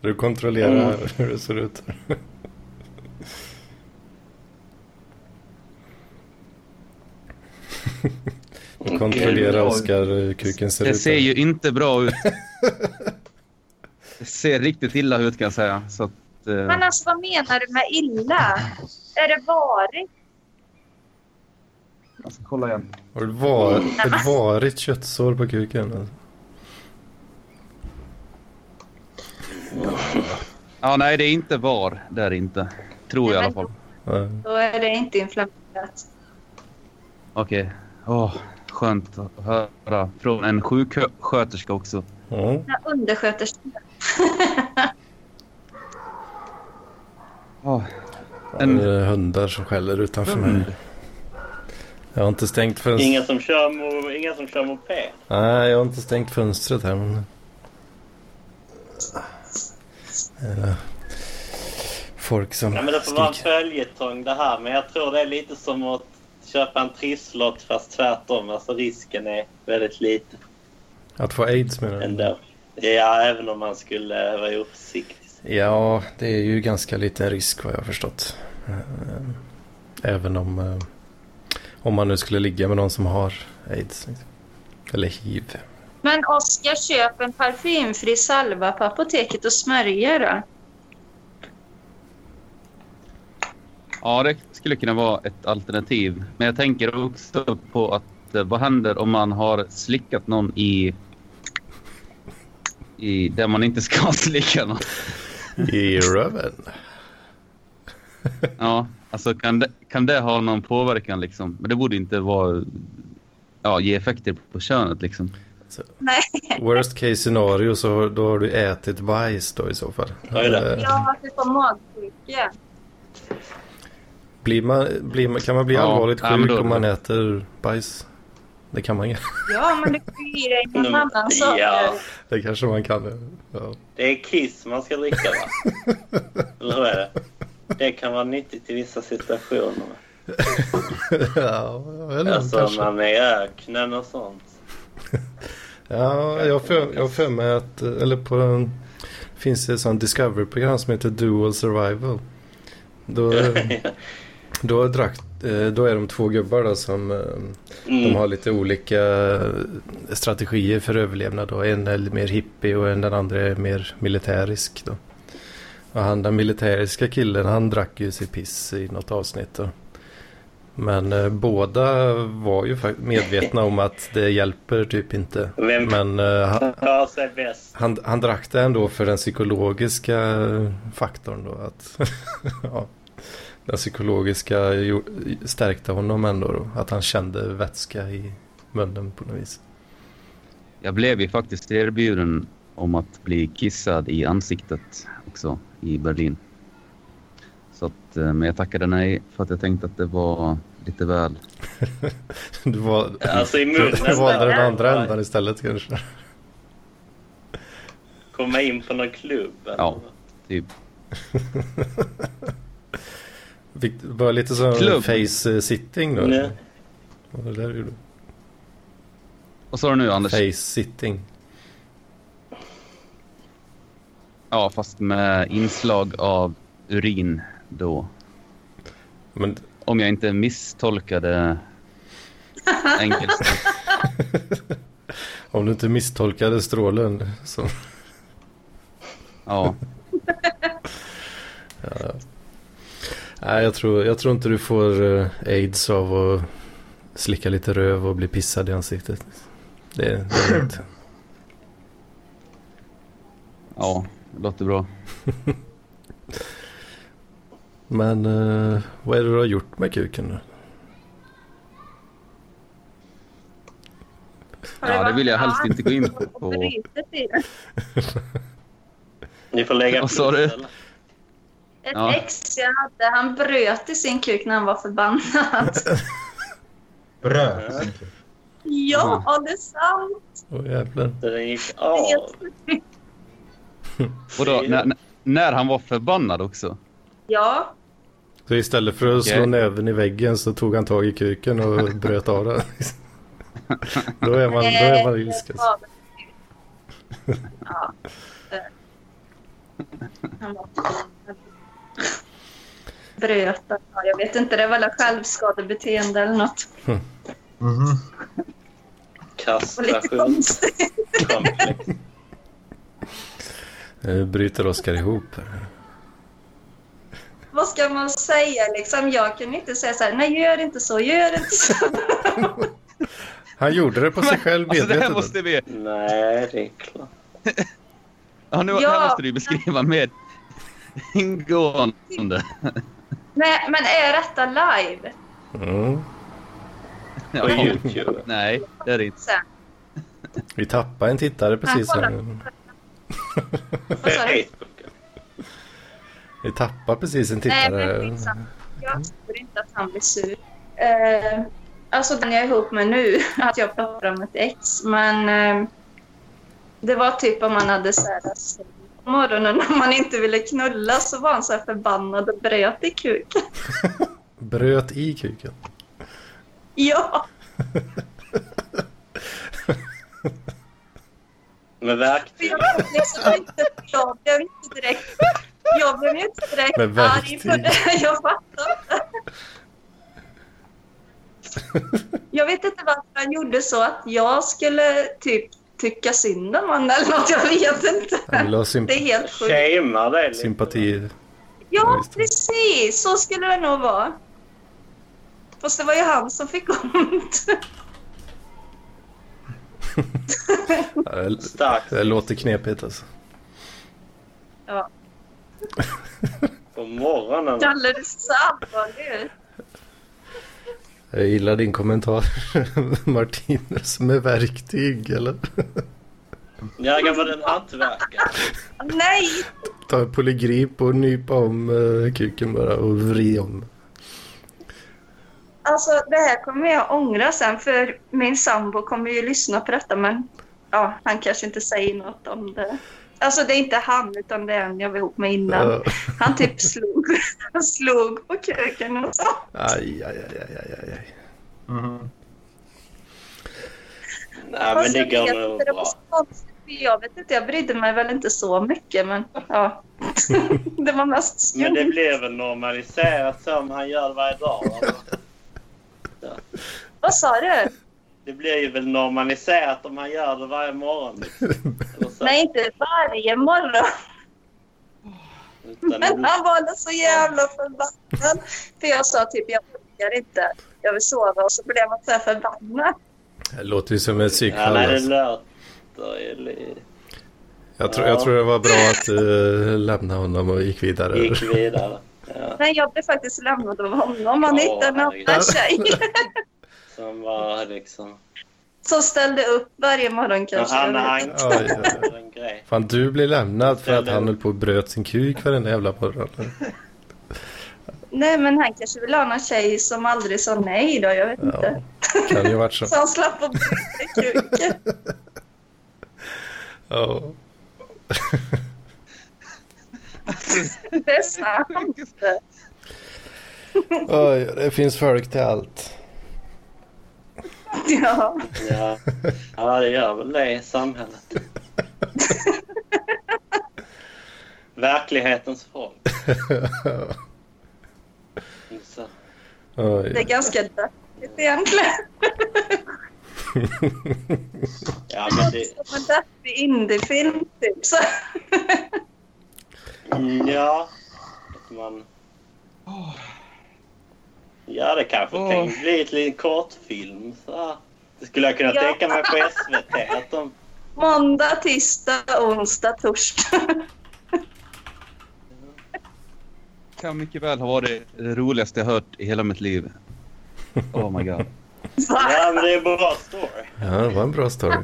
S1: Du kontrollerar hur det ser ut. Du kontrollerar
S5: Gud,
S1: Oskar hur kuken ser
S6: Det
S1: ut.
S6: ser ju inte bra ut. Det ser riktigt illa ut kan jag säga. Så att, eh,
S4: Men alltså vad menar du med illa? Är det varigt?
S6: jag ska kolla igen.
S1: Har du var, ett varigt köttsår på kuken? alltså?
S6: Ja, nej, det är inte VAR. Det är det inte. Tror jag i alla fall.
S1: Ja.
S4: Då är det inte inflammerat.
S6: Okej. Åh, skönt att höra från en sjuksköterska också.
S1: Ja.
S4: När undersköterskan
S6: Åh,
S1: En... Mm.
S6: En-
S1: Det är hundar som skäller utanför mig. Jag har inte stängt fönstret.
S5: Inga som kör, mo- inga som kör moped.
S1: Nej, jag har inte stängt fönstret här. Men... Eller... Eh, Folk som
S5: Ja, men det får vara en
S1: skriker.
S5: följetong det här. Men jag tror det är lite som att köpa en trisslott fast tvärtom. Alltså risken är väldigt liten
S1: Att få aids menar du?
S5: ändå. Ja, även om man skulle vara oförsiktig.
S1: Ja, det är ju ganska liten risk vad jag har förstått. Eh, Även om, eh, om man nu skulle ligga med någon som har aids. liksom. Eller hiv.
S4: Men Oskar, köp en parfymfri salva på apoteket och smörja då.
S6: Ja, det skulle kunna vara ett alternativ. Men jag tänker också på att eh, vad händer om man har slickat någon i... i där man inte ska slicka någon?
S1: I röven.
S6: Ja, alltså kan det, kan det ha någon påverkan liksom? Men det borde inte vara... Ja, ge effekter på könet liksom.
S4: Nej,
S1: Worst case scenario så har- då har du ätit bajs då i så fall.
S5: Oj då.
S1: Eh,
S4: jag har fått magsjuka.
S1: Blir man, blir man, kan man bli
S6: Ja,
S1: allvarligt
S6: nej, men
S1: sjuk
S6: då-
S1: om man äter bajs? Det kan man
S4: Ja, men du får ju i dig någon
S5: Mm,
S4: annan sak.
S5: ja.
S1: Det kanske man kan. Ja.
S5: Det är kiss man ska dricka va? Eller hur är det? Det kan vara nyttigt i vissa situationer. va?
S1: ja, jag vet inte,
S5: Alltså om
S1: kanske.
S5: man är i öknen och sånt.
S1: Ja, jag har för, jag har för mig att, eller på en, finns det ett sånt Discovery-program som heter Dual Survival. Då, då, drack, eh, då är de två gubbar då som eh, de
S5: Mm.
S1: har lite olika strategier för överlevnad. Då. En är mer hippie och en- den andra är mer militärisk. Då. Och han, den militäriska killen han drack ju sig piss i något avsnitt. Då. Men eh, båda var ju fak- medvetna om att det hjälper typ inte.
S5: Vem
S1: Men eh, han,
S5: klarar sig bäst?
S1: han, han drack det ändå för den psykologiska faktorn då. Att, ja, den psykologiska jo- stärkte honom ändå då. Att han kände vätska i munnen på något vis.
S6: Jag blev ju faktiskt erbjuden om att bli kissad i ansiktet också i Berlin. Så att, eh, men jag tackade nej för att jag tänkte att det var lite väl...
S1: Du, val,
S5: Alltså i munnen.
S1: du valde den andra
S5: bara.
S1: ändan istället kanske.
S5: Komma in på någon klubb. eller
S6: Ja.
S5: något.
S6: Typ.
S1: Fick, var lite som
S6: Klubb.
S1: face-sitting då?
S5: Nej.
S1: Vad var det där du gjorde?
S6: Vad sa du nu Anders?
S1: Face-sitting.
S6: Ja, fast med inslag av urin då.
S1: Men
S6: Om jag inte misstolkade engelska.
S1: om du inte misstolkade strålen så...
S6: Ja,
S1: Nej, jag tror, jag tror inte du får eh, aids av att slicka lite röv och bli pissad i ansiktet. Det, det är inte.
S6: ja, det låter bra.
S1: Men eh, vad är det du har gjort med kuken då?
S4: Har det
S6: Ja, det
S4: varit
S6: vill jag helst
S4: varmt
S6: inte gå in på.
S4: och brutet i den?
S5: Ni får lägga
S6: Vad sa du?
S5: eller?
S4: Ett
S6: Ja.
S4: ex jag hade, han bröt i sin kuk när han var förbannad.
S2: Bröt.
S4: ja, det är sant.
S1: Åh jävlar.
S5: Så den gick
S4: Det
S5: av.
S4: är helt sjukt.
S6: Och då, när, när han var förbannad också.
S4: Ja,
S1: Så istället för att slå
S6: Okej.
S1: näven i väggen så tog han tag i kuken och bröt av den. då är man, då är man alltså. ilsken.
S4: Eh, Ja. eh, Han var förbannad. Bröt han. Ja, Jag vet inte, det var väl självskadebeteende eller något.
S5: Mm.
S2: Mhm.
S4: Och lite
S5: Kastration.
S4: konstigt.
S5: Komplex.
S1: Nu bryter Oskar ihop.
S4: Vad ska man säga liksom? Jag kunde inte säga så här, nej gör inte så, gör inte så.
S1: Han gjorde det på sig själv
S6: Alltså det
S1: medvetet.
S6: här måste vi...
S5: Nej, det är klart.
S6: Ja, nu,
S4: Ja.
S6: Det här måste du beskriva mer ingående.
S4: Nej, men är detta live?
S1: mm.
S5: På
S6: Ja,
S5: Youtube.
S6: nej, det är det inte.
S4: Sen.
S1: Vi tappade en tittare precis
S4: kolla.
S1: här.
S4: Vad sa du?
S5: Facebook.
S1: Vi tappade precis en
S4: Nej,
S1: tittare.
S4: men skitsamma. Jag tror inte att han blir sur. Eh, alltså den jag är ihop med nu, att jag pratar om ett ex. Men eh, det var typ om man hade så här, alltså, på morgonen när man inte ville knulla så var han så här förbannad och bröt i kuken.
S1: Bröt i kuken.
S4: Ja,
S5: Med
S4: för
S5: verktyg.
S4: jag blev liksom inte, jag blev inte direkt, jag blev ju inte direkt
S1: Med
S4: arg på
S1: verktyg.
S4: det. Jag fattar inte. Jag vet inte varför han gjorde så att jag skulle typ tycka synd om honom eller något. Jag vet inte.
S1: Han ville ha
S4: Det är
S1: symp-
S4: helt sjukt.
S5: Shamear dig lite.
S1: sympati. Ja,
S4: Ja,
S1: visst.
S4: precis. Så skulle det nog vara. Fast det var ju han som fick ont.
S1: Ja, Det
S5: Starkt
S1: det låter knepigt alltså.
S4: Ja.
S5: på morgonen.
S4: Kalle, du ser så allvarlig ut.
S1: Jag gillar din kommentar. Martinus med verktyg eller?
S5: Jag kan vara en hantverkare.
S4: Nej!
S1: Ta en polygrip och nypa om eh, kuken bara och vri om.
S4: Alltså det här kommer jag ångra sen för min sambo kommer ju lyssna på detta men ja, han kanske inte säger något om det. Alltså det är inte han utan det är en jag var ihop med innan.
S1: Ja.
S4: Han typ slog, han slog på kuken och så.
S1: Aj, aj, aj, aj, aj, aj, aj.
S2: Mhm.
S5: Nej, men
S4: Fast
S5: det
S4: jag vet
S5: går
S4: inte,
S5: nog
S4: det
S5: bra.
S4: var så konstigt, för Jag vet inte, jag brydde mig väl inte så mycket men ja. det var mest
S5: Men det
S4: skumt.
S5: blir väl normaliserat som han gör varje dag. va?
S4: Vad sa du?
S5: Det blir ju väl normaliserat om han gör det varje morgon. liksom. Eller så.
S4: Nej inte varje morgon.
S5: Utan det
S4: Men
S5: blir-
S4: han var så jävla förbannad. För jag sa typ, jag orkar inte. Jag vill sova. Och så blev han så här förbannad.
S1: Det låter ju som ett
S5: Ja,
S1: psykfall.
S5: nej, det
S1: Alltså.
S5: låter ju li-
S1: Jag, tror, jag tror det var bra att eh, lämna honom och gick vidare.
S5: Gick vidare. Ja,
S4: Men jag blev faktiskt lämnad av honom. Han
S5: Ja,
S4: hittade en
S5: herregud.
S4: annan tjej.
S5: som var liksom...
S4: Som ställde upp varje morgon kanske.
S5: Han
S4: jag vet
S5: hang
S4: inte.
S1: Oj, oj, oj.
S5: en grej.
S1: Fan, du blir lämnad för att
S5: Ställer-
S1: han höll på och bröt sin kuk varenda jävla morgon.
S4: Nej, men han kanske vill ha någon tjej som aldrig sa nej då. Jag vet
S1: Ja,
S4: inte.
S1: kan ju ha varit så.
S4: Så han slapp att bli kuken.
S1: Ja.
S4: Det är sant.
S1: Oj, det finns folk till allt.
S4: Ja.
S5: Ja. ja, det gör väl det i samhället. Verklighetens folk. Så.
S4: Det är
S1: Oj.
S4: ganska deppigt egentligen.
S5: Ja, men det,
S4: Som en deppig indiefilm typ. Så.
S5: Mm, Ja. Att man... Ja, det kanske
S6: Åh.
S5: kan bli ett litet kortfilm. Så. här. Det skulle jag kunna
S4: Ja.
S5: tänka mig på SVT. Att de...
S4: Måndag, tisdag, onsdag, torsdag.
S6: Kan mycket väl ha varit det roligaste jag hört i hela mitt liv. Oh my god.
S4: Så.
S5: Ja, men det är en bra story.
S1: Ja, det var en bra story.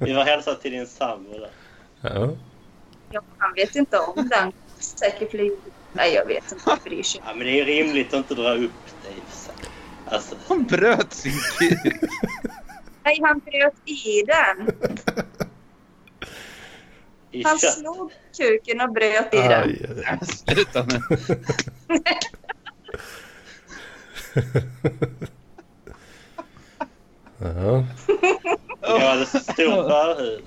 S5: Vi var hälsa till din sambo där.
S1: Ja.
S4: Ja, han vet inte om den. Säkert blir... Nej, jag vet inte. Jag bryr sig.
S5: Ja, men det är ju rimligt att inte dra upp det i och för sig. Alltså,
S6: Han bröt sin kuk.
S4: Nej, han bröt i den.
S5: i
S4: Han
S5: kött.
S4: slog kuken och bröt i
S1: Ah,
S4: den.
S1: Aj, aj.
S6: Sluta nu.
S1: Ja.
S5: Jag hade så stor förhud.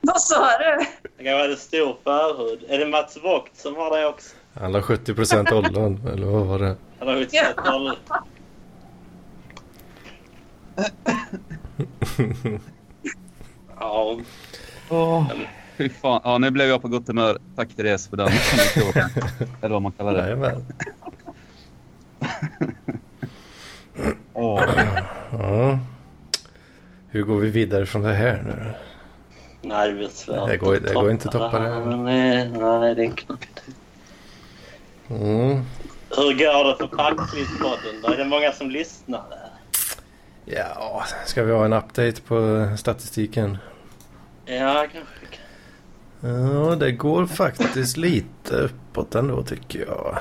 S4: Vad sa du?
S5: Jag hade stor förhud. Är det Mats Vogt som har det också?
S1: Han la 70% ollon, eller vad var det?
S5: Han har utsett ja. Ja,
S6: Fy fan. Ja, nu blev jag på gott humör. Tack Therese för den anekdoten. Eller vad man kallar det.
S1: Jajamän.
S6: Åh.
S1: Ja. Hur går vi vidare från det här nu då?
S5: Nej, det blir svårt.
S1: Det går- det går inte att toppa det.
S5: Nej, eh, nej, det är knappt.
S1: Mm.
S5: Hur går det för Packlistpodden då? Är det många som lyssnar? där?
S1: Ja, ska vi ha en update på statistiken?
S5: Ja, kanske. kan.
S1: Ja, det går faktiskt lite uppåt ändå tycker jag.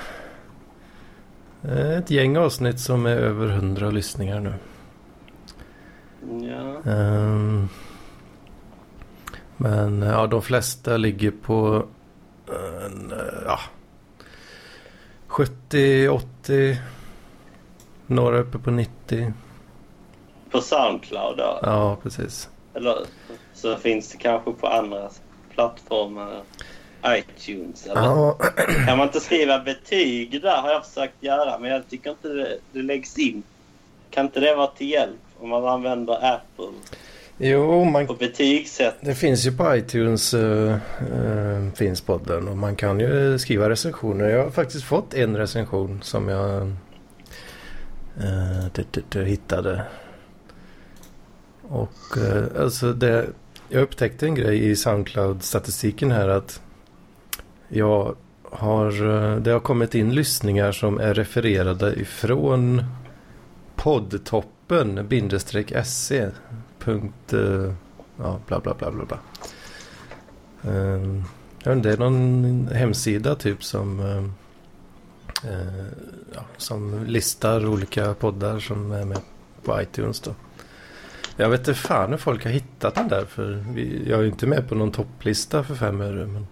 S1: Ett gäng avsnitt som är över 100 lyssningar nu.
S5: Ja.
S1: Ehm, men ja, de flesta ligger på en, eh, ja, 70, 80, några uppe på 90.
S5: På Soundcloud då?
S1: Ja, precis.
S5: Eller så finns det kanske på andra plattformar. iTunes eller?
S1: Ja,
S5: Kan man inte skriva betyg där har jag försökt göra men jag tycker inte det, det läggs in. Kan inte det vara till hjälp om man använder Apple
S1: jo, man
S5: och betygsätt?
S1: Det finns ju på iTunes, eh, eh, finns podden och man kan ju skriva recensioner. Jag har faktiskt fått en recension som jag eh, tut, tut, tut, hittade. Och eh, alltså det, jag upptäckte en grej i Soundcloud-statistiken här att jag har, eh, det har kommit in lyssningar som är refererade ifrån poddtoppen bindestreck se punkt eh, ja, bla bla bla bla bla. Ehm, jag vet inte, det är någon hemsida typ som, ehm, eh, ja, som listar olika poddar som är med på iTunes då. Jag vet inte fan hur folk har hittat den där för vi, jag är ju inte med på någon topplista för fem öre. Men,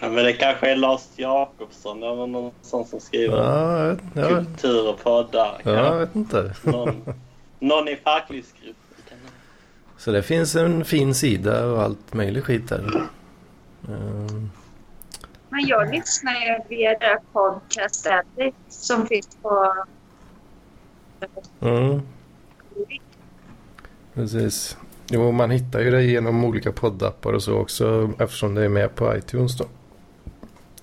S5: Ja, men det kanske är Lars Jakobsson eller någon sån som skriver
S1: ja, jag, vet- jag,
S5: kultur och poddar.
S1: ja, jag
S5: Ja.
S1: vet inte.
S5: Någon, någon i facklivsgruppen. kan det vara.
S1: Så det finns en fin sida och allt möjligt skit där. Ehm,
S4: Men jag lyssnar ju via det här podcast Addict som finns på...
S1: mm. Precis. Jo, man hittar ju det genom olika poddappar och så också eftersom det är med på iTunes då.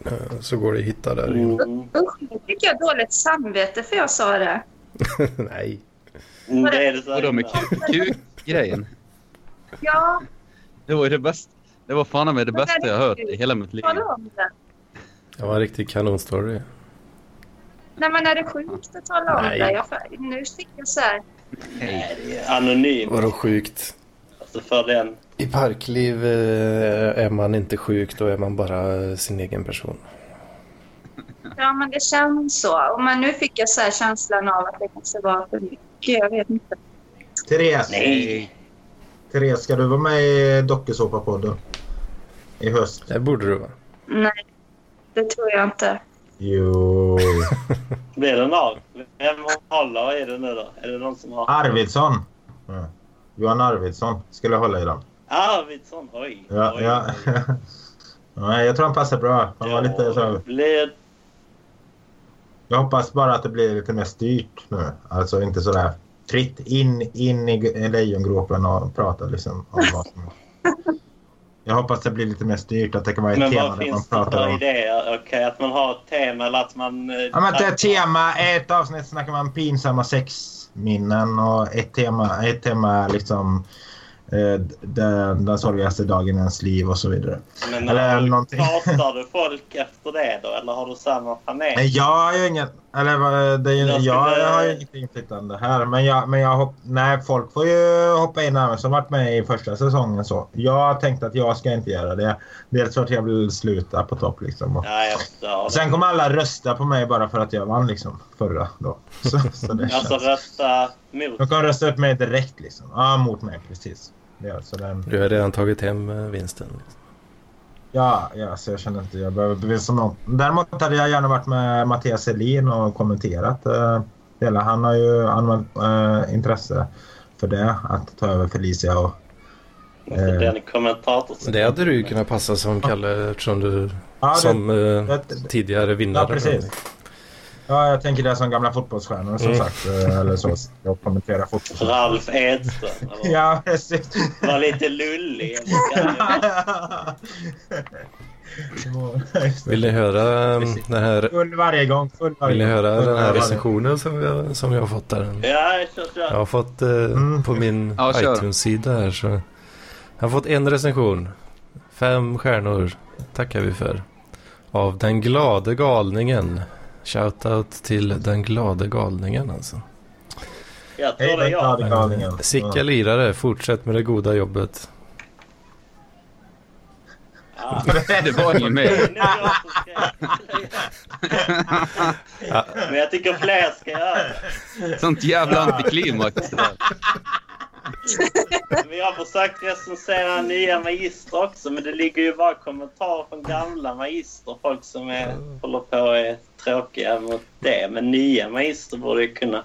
S1: Eh, Så går det att hitta där.
S5: Mm.
S4: Usch, nu fick jag dåligt samvete för jag sa det.
S1: Nej.
S5: Mm, Det är det
S6: Vadå med
S5: säkert.
S6: kuk- kuk-grejen?
S4: Ja,
S6: Det var ju det bästa. Det var fan med det bästa jag hört i hela mitt liv.
S4: Tala om det.
S1: Det var en riktig kanonstory.
S4: Nej, men är det sjukt att tala om
S1: Nej.
S4: det? Jag, får- nu fick jag så här.
S5: Nej, det är anonymt.
S1: Vadå sjukt?
S5: Alltså för den.
S1: I parkliv eh, är man inte sjuk, då är man bara eh, sin egen person.
S4: Ja, men det känns så. Och men nu fick jag så här känslan av att det kanske var för mycket. Jag vet inte.
S2: Therese,
S5: Nej.
S2: Therese, ska du vara med i dokusåpapodden? I höst?
S1: Det borde du va?
S4: Nej, det tror jag inte.
S2: Jo.
S5: Blir den av? Vem håller i den nu då? Är det någon som har?
S2: Arvidsson. Ja. Johan Arvidsson skulle hålla i dem.
S5: Arvidsson? Oj.
S2: Ja,
S5: oj,
S2: ja.
S5: oj.
S2: Nej, jag tror han passar bra. Han var lite
S5: Ja,
S2: så.
S5: det Blir...
S2: Jag hoppas bara att det blir lite mer styrt nu. Alltså inte sådär fritt in, in i g- lejongropen och prata liksom om vad som... Jag hoppas det blir lite mer styrt, att det kan vara ett
S5: Men
S2: tema där
S5: vad
S2: man
S5: finns det
S2: pratar
S5: för
S2: om.
S5: idéer? Okej, att man har ett tema eller att man... eh,
S2: Ja, men ett
S5: att-
S2: tema, ett avsnitt snackar man pinsamma sexminnen och ett tema, ett tema är liksom eh, d- den, den sorgligaste dagen i ens liv och så vidare.
S5: Men
S2: Eller
S5: eller
S2: någonting.
S5: Kartar du folk efter det då? Eller har du samma panel?
S2: Nej, jag har ju inget... Eller vad- det är ju,
S5: Jag
S2: jag,
S5: skulle-
S2: har ju inget inflytande här. Men, jag, men jag hopp, nej, folk får ju hoppa in även som varit med i första säsongen. så. Jag tänkte att jag ska inte göra det. Dels för att jag vill sluta på topp. Liksom. Och
S5: Ja, jag förstår.
S2: Sen kommer alla rösta på mig bara för att jag vann liksom, förra. Då. Så, så det
S5: Alltså
S2: känns.
S5: rösta mot.
S2: De kommer rösta upp mig direkt. Liksom. Ja, mot mig. Precis. Ja, så den,
S1: Du har redan tagit hem eh, vinsten.
S2: ja, ja, så jag känner inte jag behöver bevisa någon. Däremot hade jag gärna varit med Mattias Helin och kommenterat. Eh, hela. Han har ju anmält eh, intresse för det. Att ta över Felicia och...
S5: Alltså,
S2: eh.
S5: den kommentator som...
S1: Det hade du ju kunnat passa som Kalle eftersom du
S2: Ja, det,
S1: som eh,
S2: det- det-
S1: tidigare vinnare.
S2: ja precis. Ja, jag tänker det som gamla fotbollsstjärnor
S1: Mm.
S2: som sagt. Eh, eller så. Jag kommenterar fotboll.
S5: Ralf Edström. eller?
S2: Ja, precis.
S5: Var lite lullig. eller kan jag-
S1: Vill ni höra eh,
S2: Precis.
S1: den här,
S2: Full varje gång. Full varje
S1: vill ni
S2: gång.
S1: höra
S2: Full
S1: den här
S2: varje-
S1: recensionen som jag, som jag har fått där?
S5: Ja, kör, kör.
S1: Jag har fått eh,
S2: Mm.
S1: på min
S6: Ja, kör.
S1: iTunes-sida här så. Jag har fått en recension. Fem stjärnor tackar vi för. Av den glade galningen. Shoutout till den glade galningen alltså.
S5: Jag
S2: Hej,
S5: tror det är
S2: den
S5: jag.
S2: glada galningen.
S1: Sicka lirare, fortsätt med det goda jobbet.
S5: Ja.
S6: Det var ingen mer.
S5: Nu är jag som ska- Men jag tycker fler ska göra det.
S6: Sånt jävla antiklimax. det där.
S5: Men jag har försökt recensera nya magister också, men det ligger ju bara kommentarer från gamla magister. Folk som är, håller på och är tråkiga mot det. Men nya magister borde ju kunna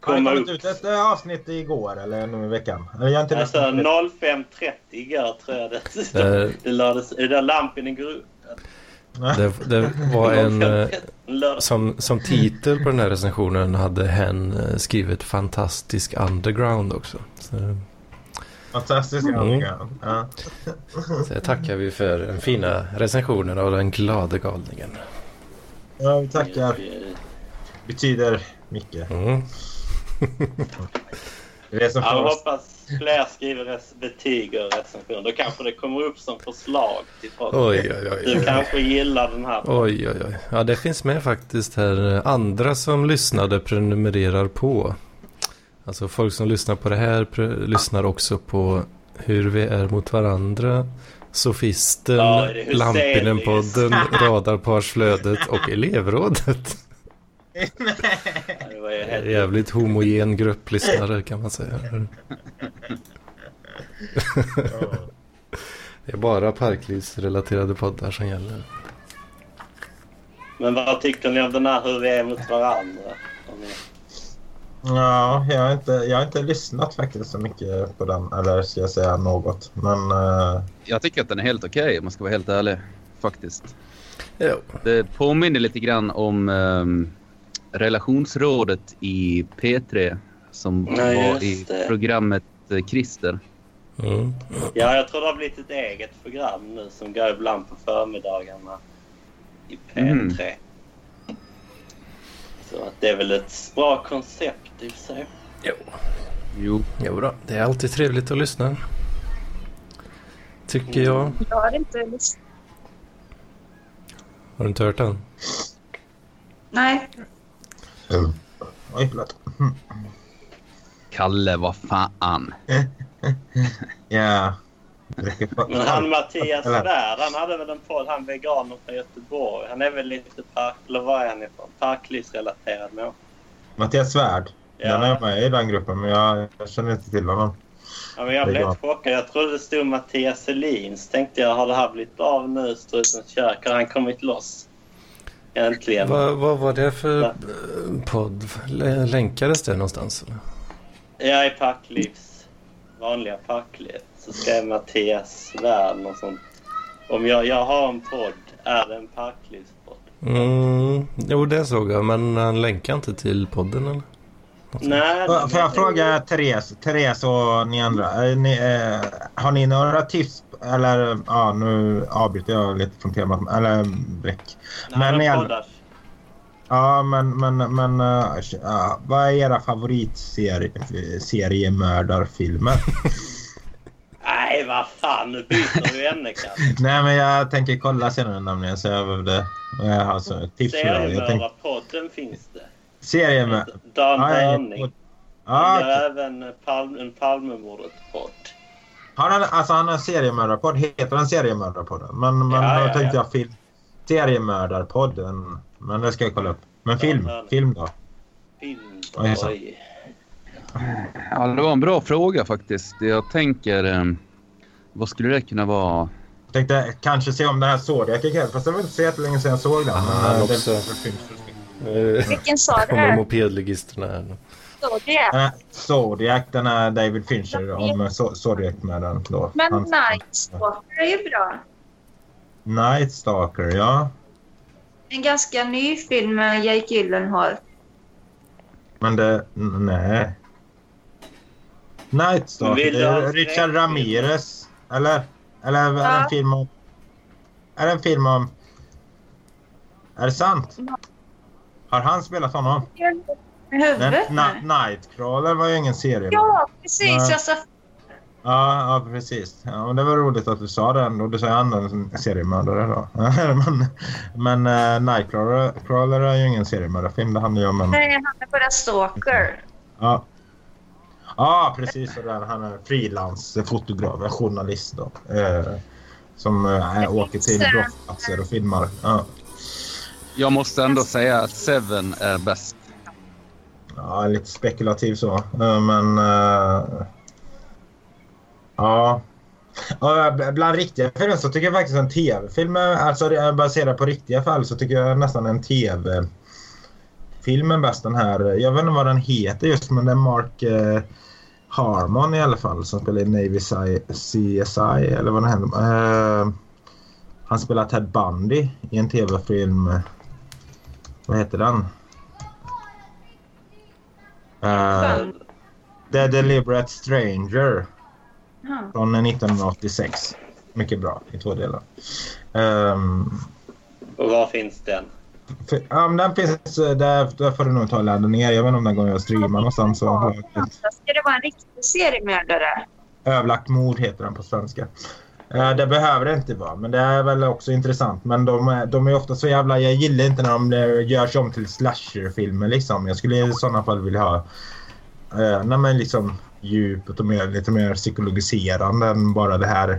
S2: Har det
S5: komma
S2: kommit
S5: upp.
S2: ut ett eh, avsnitt igår eller nu i veckan? Eller jag har inte
S5: Alltså
S2: lyssnat på det.
S5: 05.30 igår tror jag det,
S1: Eh.
S5: det lades. Det där lampen i gruppen.
S1: Det, det var en... eh,
S5: 05.30 lördag.
S1: Som, som titel på den här recensionen hade hen eh, skrivit Fantastisk Underground också. Så,
S2: Fantastiskt.
S1: Mm.
S2: Ja. Ja.
S1: så det tackar vi för den fina recensionen av den glade galningen.
S2: ja, vi tackar.
S5: Mm.
S2: Betyder mycket.
S1: Mm.
S2: Det är det som
S5: Ja,
S2: får
S5: jag
S2: oss.
S5: hoppas fler skriver res- betyg och recensioner. Då kanske det kommer upp som förslag till folk.
S1: Oj, oj, oj.
S5: Du kanske gillar den här.
S1: Oj, oj, oj. Ja, det finns med faktiskt här. Andra som lyssnade prenumererar på. Alltså folk som lyssnar på det här pre- lyssnar också på Hur vi är mot varandra, Sofisten,
S5: Ja, det är Huselius.
S1: Lampinen-podden, Radarparsflödet och Elevrådet.
S5: Det var ju helt...
S1: Jävligt homogen grupp lyssnare kan man säga. Mm. Det är bara parklivsrelaterade poddar som gäller.
S5: Men vad tycker ni om den här hur vi är mot varandra? Om ni-
S2: Ja, jag har, inte, jag har inte lyssnat faktiskt så mycket på den. Eller ska jag säga något. Men eh,
S6: Jag tycker att den är helt okej om man ska vara helt ärlig. Faktiskt.
S1: Jo.
S6: Det påminner lite grann om ehm, relationsrådet i P3 som
S5: Ja,
S6: var
S5: just
S6: i
S5: det.
S6: programmet eh, Christer.
S1: Mm.
S5: Ja, jag tror det har blivit ett eget program nu som går ibland på förmiddagarna i P3.
S6: Mm.
S5: Så att det är väl ett bra koncept i och för sig.
S1: Jo.
S6: Jo.
S1: Jo då, det är alltid trevligt att lyssna. Tycker jag.
S4: Jag har inte lyssnat.
S1: Har du inte hört den?
S4: Nej.
S2: Oj, förlåt.
S6: Kalle, vad fan.
S2: Ja. Dricker för-
S5: Men han Mattias
S2: Eller?
S5: Svärd, han hade väl en podd, han veganen från Göteborg. Han är väl lite park... Eller var är han ifrån? Parklivsrelaterad människa.
S2: Mattias Svärd.
S5: Ja.
S2: Den är med i den gruppen, men jag, jag känner inte till honom.
S5: Ja, men jag
S2: Det är
S5: blev
S2: bra.
S5: chockad. Jag trodde det stod Mattias Selin. Så tänkte jag, har det här blivit av nu? Strutens kök. Har han kommit loss? Äntligen.
S1: Vad, vad var det för
S5: Va?
S1: eh, podd? L- Länkades det någonstans? Eller?
S5: Jag är parklivs. Vanliga parkliv. Så skrev Mattias Svärd och sånt. Om jag, jag har en podd. Är det en parklivspodd?
S1: Mm, jo, det såg jag. Men han länkade inte till podden eller?
S5: Nej.
S2: Får
S5: nej,
S2: får jag
S5: nej.
S2: fråga Therese, Therese och ni andra. är Ni, eh, har ni några tips? Eller ja, nu avbryter jag lite från temat. Eller bläck.
S5: Nej, men
S2: Men i alla-
S5: poddar.
S2: Ja, men, men, men eh, ja, vad är era favoritseriemördarfilmer?
S5: Nej, vad fan. Nu byter vi ämne kanske.
S2: Nej, men jag tänker kolla senare nämligen. Så jag behövde jag har så, tips för det. Jag tänkte,
S5: Seriemördarpodden finns det.
S2: seriemördare.
S5: Dan
S2: Ja, jag-
S5: Börning.
S2: Ja,
S5: Han
S2: okej.
S5: gör även eh, Palm- en Palmemordet-podd.
S2: Har han, alltså han har en seriemördarpodd. Heter han seriemördarpodden? Men, men
S5: Ja, ja,
S2: då tänkte
S5: ja.
S2: jag film. Seriemördarpodden. Men det ska jag kolla upp. Men film,
S5: Ja, men-
S2: film då? Ja, just det.
S5: Pinboy.
S6: Ja, det var en bra fråga faktiskt. Jag tänker... eh, Vad skulle det kunna vara?
S2: Jag tänkte kanske se om den här Zodiac gick helt. Fast det var inte så jättelänge sedan jag såg den.
S1: Ah,
S2: Men,
S1: också.
S2: det- det finns-
S1: Eh,
S4: Vilken sa du?
S1: Kommer
S4: Är
S1: mopedligisterna här nu.
S4: det?
S2: Den här Eh, Zodiac, den här David Fincher om eh, Zo- Zodiac-mördaren. då.
S4: Men
S2: Han-
S4: Night Stalker är ju bra.
S2: Night Stalker, ja.
S4: En ganska ny film med Jake Gyllenhaal.
S2: Men det... n- Nej. Night Stalker.
S5: Vill du
S2: det är
S5: ha en
S2: Richard
S5: skräckfilm?
S2: Ramirez. Eller? Eller är det en
S4: Ja.
S2: film om... Är det en film om... Är det sant? Har han spelat honom?
S4: Med
S2: Den,
S4: huvudet
S2: na,
S4: nu.
S2: Nightcrawler var ju ingen serie.
S4: Ja, precis.
S2: Nej.
S4: Jag sa
S2: Ja, ja, precis. Ja, men det var roligt att du sa den. Och du sa han en seriemördare då. men men eh, Nightcrawler Crawler är ju ingen seriemördarfilm. Det handlar ju om en...
S4: nej, han är bara stalker.
S2: Ja. Ja, precis. Och där, han är frilansfotograf, journalist då. Eh, som eh, åker till brottsplatser och filmar. Ja,
S6: Jag måste ändå säga att Seven är bäst.
S2: ja lite spekulativ så. Eh, men... Eh, ja. Ja, b- bland riktiga filmer så tycker jag faktiskt en tv-film, är- alltså det är baserad på riktiga fall, så tycker jag nästan en tv... Filmen bäst den här, jag vet inte vad den heter just men det är Mark eh, Harmon i alla fall som spelar i Navy Sci- CSI eller vad den heter. Eh, han spelar Ted Bundy i en tv-film. Vad heter den? Eh, The Deliberate Stranger.
S4: Ja.
S2: Från 1986. Eh, Mycket bra i två delar. Ehm,
S5: Och var finns den?
S2: för, ja, men den finns, eh, där, där får du nog ta och ladda ner. Jag vet inte om den går att streama någonstans. Så har jag ett
S4: Ska det vara en riktig seriemördare?
S2: Överlagt mord heter den på svenska. Eh, det behöver det inte vara, men det är väl också intressant. Men de, är- de är ofta så jävla... Jag gillar inte när de eh, görs om till slasherfilmer liksom. Jag skulle i sådana fall vilja ha... Eh, nej men liksom djupet och mer, lite mer psykologiserande än bara det här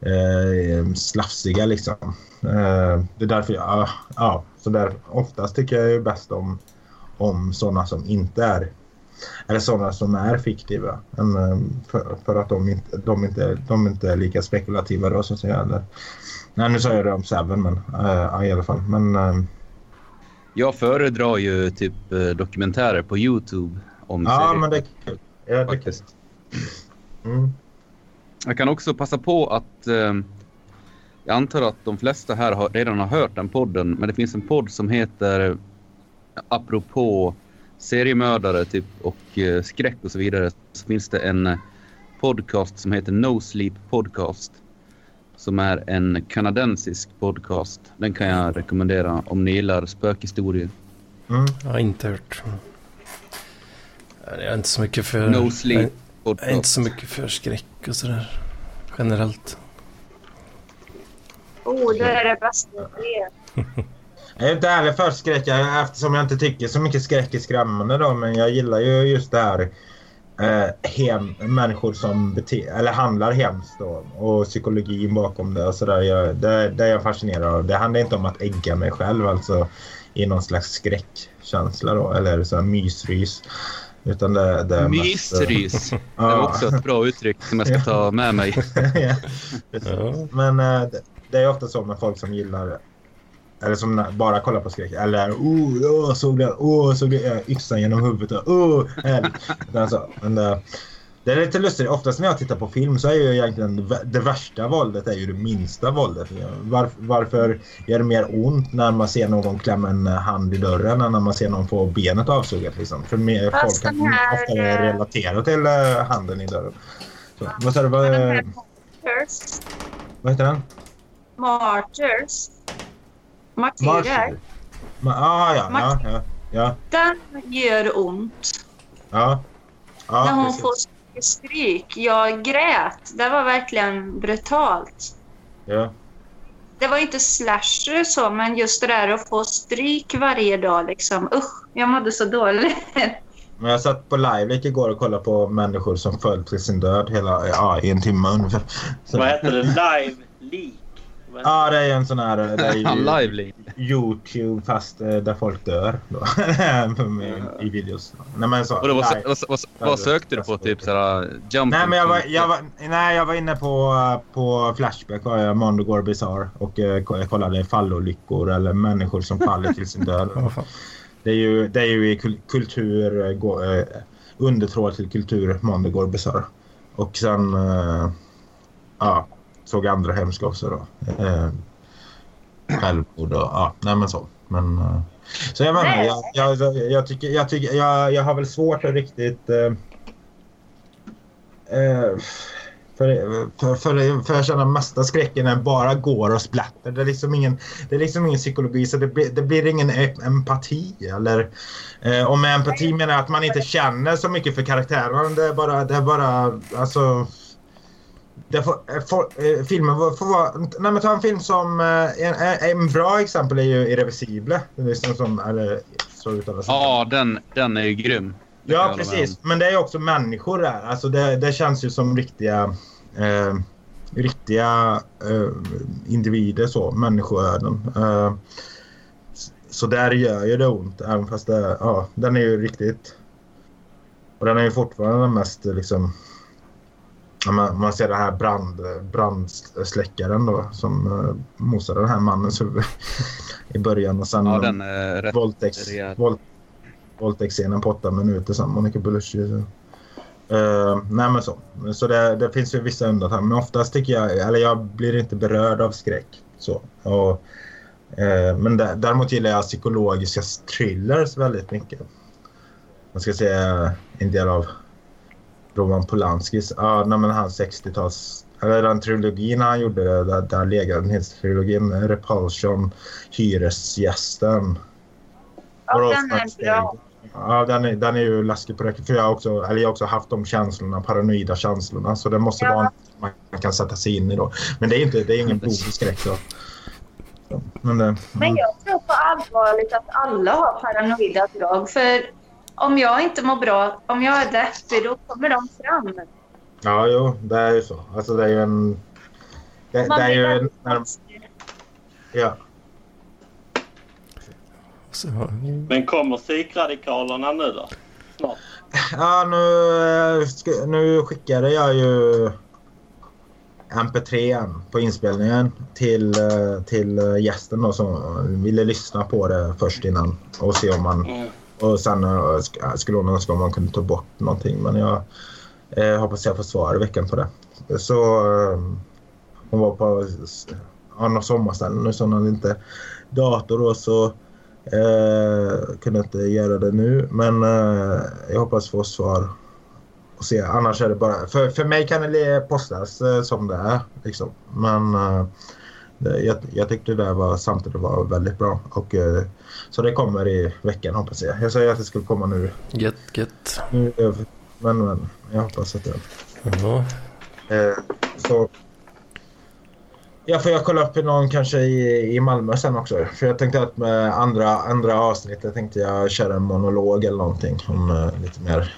S2: eh, slafsiga liksom. Eh, det är därför jag... ja, ja, så där, oftast tycker jag ju bäst om, om sådana som inte är eller sådana som är fiktiva. Men, eh, För, för att de inte, de, inte, de inte är lika spekulativa då så att säga. Eller, nej nu sa jag det om Seven men eh, ja, i alla fall. Men eh,
S6: Jag föredrar ju typ eh, dokumentärer på Youtube. Om
S2: ja
S6: serier.
S2: men det är kul. Ja, det är kul.
S6: Faktiskt.
S2: Mm.
S6: Jag kan också passa på att... Eh, jag antar att de flesta här har, redan har hört den podden, men det finns en podd som heter eh, Apropå seriemördare typ, och eh, skräck och så vidare. Så finns det en eh, podcast som heter No Sleep Podcast. Som är en kanadensisk podcast. Den kan jag rekommendera om ni gillar spökhistorier.
S2: Mm.
S1: Jag har inte hört. Jag är inte så mycket för...
S6: No Sleep
S1: Jag är Eh, inte
S6: Podcast.
S1: så mycket för skräck och sådär. Generellt.
S4: Oh, det är det bästa jag vet.
S2: Jag är inte ärlig för skräck jag- eftersom jag inte tycker så mycket skräck är skrämmande då. Men jag gillar ju just det här. Eh, hem, människor som bete, eller handlar hemskt då, och psykologin bakom det och sådär. Jag, det, det är jag fascinerad av. Det handlar inte om att ägga mig själv alltså i någon slags skräckkänsla då eller så här mysrys. Utan det, det är mest-
S6: Mysrys. Det var
S2: Ja.
S6: också ett bra uttryck som jag ska ta med mig.
S2: ja,
S1: Ja.
S2: precis. Men eh, det- det är ofta så med folk som gillar eller som na- bara kollar på skräck. Eller oh, jag såg det, oh, jag såg det, eh, yxan genom huvudet, oh, helg. Utan så, men, eh, det är lite lustigt. Oftast när jag tittar på film så är ju egentligen det vä- det värsta våldet är ju det minsta våldet. Varf- varför gör det mer ont när man ser någon klämma en eh, hand i dörren än när man ser någon få benet avsugat? Liksom? För mer, folk
S4: Fast
S2: kan
S4: den här,
S2: oftare
S4: eh,
S2: relatera till eh, handen i dörren. Så, vad sa du?
S4: Men
S2: Vad,
S4: den
S2: eh,
S4: här Martyrs.
S2: vad heter den?
S4: Martyrs. Martyrer.
S2: Marshall. Ma- ah, ja, ja,
S4: Marshall.
S2: ja, ja,
S4: Den gör ont.
S2: ja. Ja,
S4: När hon
S2: precis.
S4: får så mycket stryk. Jag grät. Det var verkligen brutalt.
S2: ja.
S4: Det var inte slasher och så, men just det där att få stryk varje dag. Liksom. Usch, jag mådde så
S2: Mm.
S4: dåligt.
S2: Men jag satt på live igår och kollade på människor som föll till sin död hela, ja, i en timme ungefär. Så-
S5: Vad heter det? Live leak? Vad heter
S2: Ja, det är ju en sån här... Det är ju
S6: Lively.
S2: Youtube fast eh, där folk dör. Då. I, I videos. Nej, men så,
S6: Och då, vad,
S2: live.
S6: vad, vad, vad sökte du på? Typ såhär... Jumping
S2: Nej, men jag var, jag var, nej, jag var inne på, eh, på Flashback, var jag, Mondogore Bizarre och eh, ko- jag kollade fallolyckor eller människor som faller till sin död.
S1: Vad fan.
S2: Det är ju, det är ju i kul- kultur, eh, gå- eh, undertråd till kultur, Mondogore Bizarre. Och sen eh, ja, såg jag andra hemska också då. Eh, Självmord och ja, nej men så. Men, eh, så jag menar, jag, jag, jag, jag, tycker, jag, tycker, jag, jag har väl svårt att riktigt eh, Eh, för, för, för, för jag känner mesta skräcken är bara går och splatter. Det är liksom ingen, det är liksom ingen psykologi så det, blir- det blir ingen e- empati. Eller, eh, och med empati menar jag att man inte känner så mycket för karaktärerna. Det är bara, det är bara alltså. Det får, eh, får, eh, filmen får, får vara... Nej men ta en film som... Eh, en, en- en bra exempel är ju Irreversible. Det är liksom som... Eller, så uttalas det.
S6: Ja, den, den är ju grym. Det
S2: Ja,
S6: kan jag hålla med om.
S2: precis. Men det är också människor där. Alltså det, det känns ju som riktiga, eh, riktiga eh, individer, så, människoöden. Eh, s- så där gör ju det ont, även fast det, ja, den är ju riktigt... Och den är ju fortfarande den mest liksom... ja, Man, man ser den här brand, brandsläckaren då som eh, mosade den här mannens huvud i början och sen
S6: Ja, den är rätt...
S2: våldtäkts,
S6: rejäl.
S2: våld, våldtäktsscenen på åtta minuter sen, Monica Bellucci. Så. Eh, nej men så. Så det, det finns ju vissa undantag. Men oftast tycker jag, eller jag blir inte berörd av skräck. Så. Och, eh, men dä- däremot gillar jag psykologiska thrillers väldigt mycket. Man ska säga en del av Roman Polanskis, ja nej, men hans 60-tals, eller den trilogin han gjorde, där, där lägenhetstrilogin, Repulsion, Hyresgästen.
S4: Ja,
S2: Och
S4: den är
S2: Rosemarks
S4: bra.
S2: Tale. Ja, den är, den är ju läskig på riktigt. För jag har också, eller jag har också haft de känslorna, paranoida känslorna. Så det måste
S4: Ja.
S2: vara något man kan sätta sig in i då. Men det är inte, det är ingen blodig skräck då. Så, Men eh, det,
S4: Men jag tror på allvarligt att alla har paranoida drag. För om jag inte mår bra, om jag är deppig, då kommer de fram.
S2: ja, jo, det är ju så. Alltså det är ju en... Det, det
S4: Man
S2: är ju
S4: blir
S2: en...
S4: väldigt
S2: När,
S4: konstig.
S2: ja.
S1: Så, ja.
S5: det? Men kommer psykradikalerna nu då? Snart.
S2: Ja, nu, eh, sk- nu skickade jag ju MP3 på inspelningen till, eh, till eh, gästen då, som ville lyssna på det först innan och se om man...
S5: Mm.
S2: Och sen eh, sk- skulle hon önska om man kunde ta bort någonting men jag eh, hoppas jag får svar i veckan på det. Så eh, hon var på s- ja, något sommarställe nu så hon hade inte dator då så eh, kunde inte göra det nu men eh, jag hoppas få svar och se. Annars är det bara, för, för mig kan det le- postas eh, som det är liksom. Men eh, det, jag, jag tyckte det där var samtidigt var väldigt bra och eh, så det kommer i veckan hoppas jag. Jag säger att det skulle komma nu.
S1: Gött, gött.
S2: nu eh, men, men jag hoppas att det...
S1: Ja.
S2: Eh, så, Eh, Ja, för jag kollade upp någon kanske i, i Malmö sen också. För jag tänkte att med andra, andra avsnittet tänkte jag köra en monolog eller någonting om eh, lite mer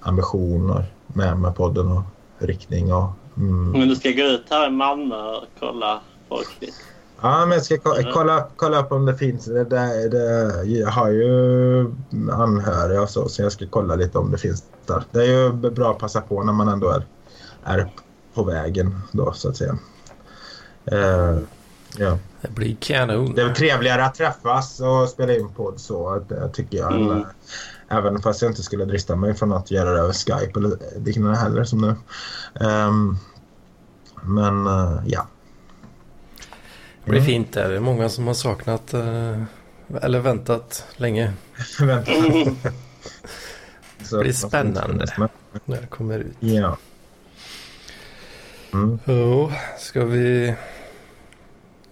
S2: ambitioner med, med podden och riktning och... Mm.
S5: Men du ska gå ut här i Malmö och kolla folk lite.
S2: Ja, men jag ska ko- kolla, upp- kolla upp om det finns. Det, det, det, jag har ju anhöriga och så, så jag ska kolla lite om det finns där. Det är ju bra att passa på när man ändå är, är på vägen då, så att säga. Eh, ja.
S1: Det blir kanon.
S2: Det är väl trevligare att träffas och spela in podd så, det tycker jag.
S5: Mm.
S2: Även fast jag inte skulle drista mig från att göra det över Skype eller liknande heller som nu. Ehm, men eh, ja.
S1: Det blir fint där. Det är många som har saknat eh, eller väntat länge
S2: Vänta. Så-
S1: Det blir spännande. när det kommer ut.
S2: Ja. Mm.
S1: Jo, ska vi...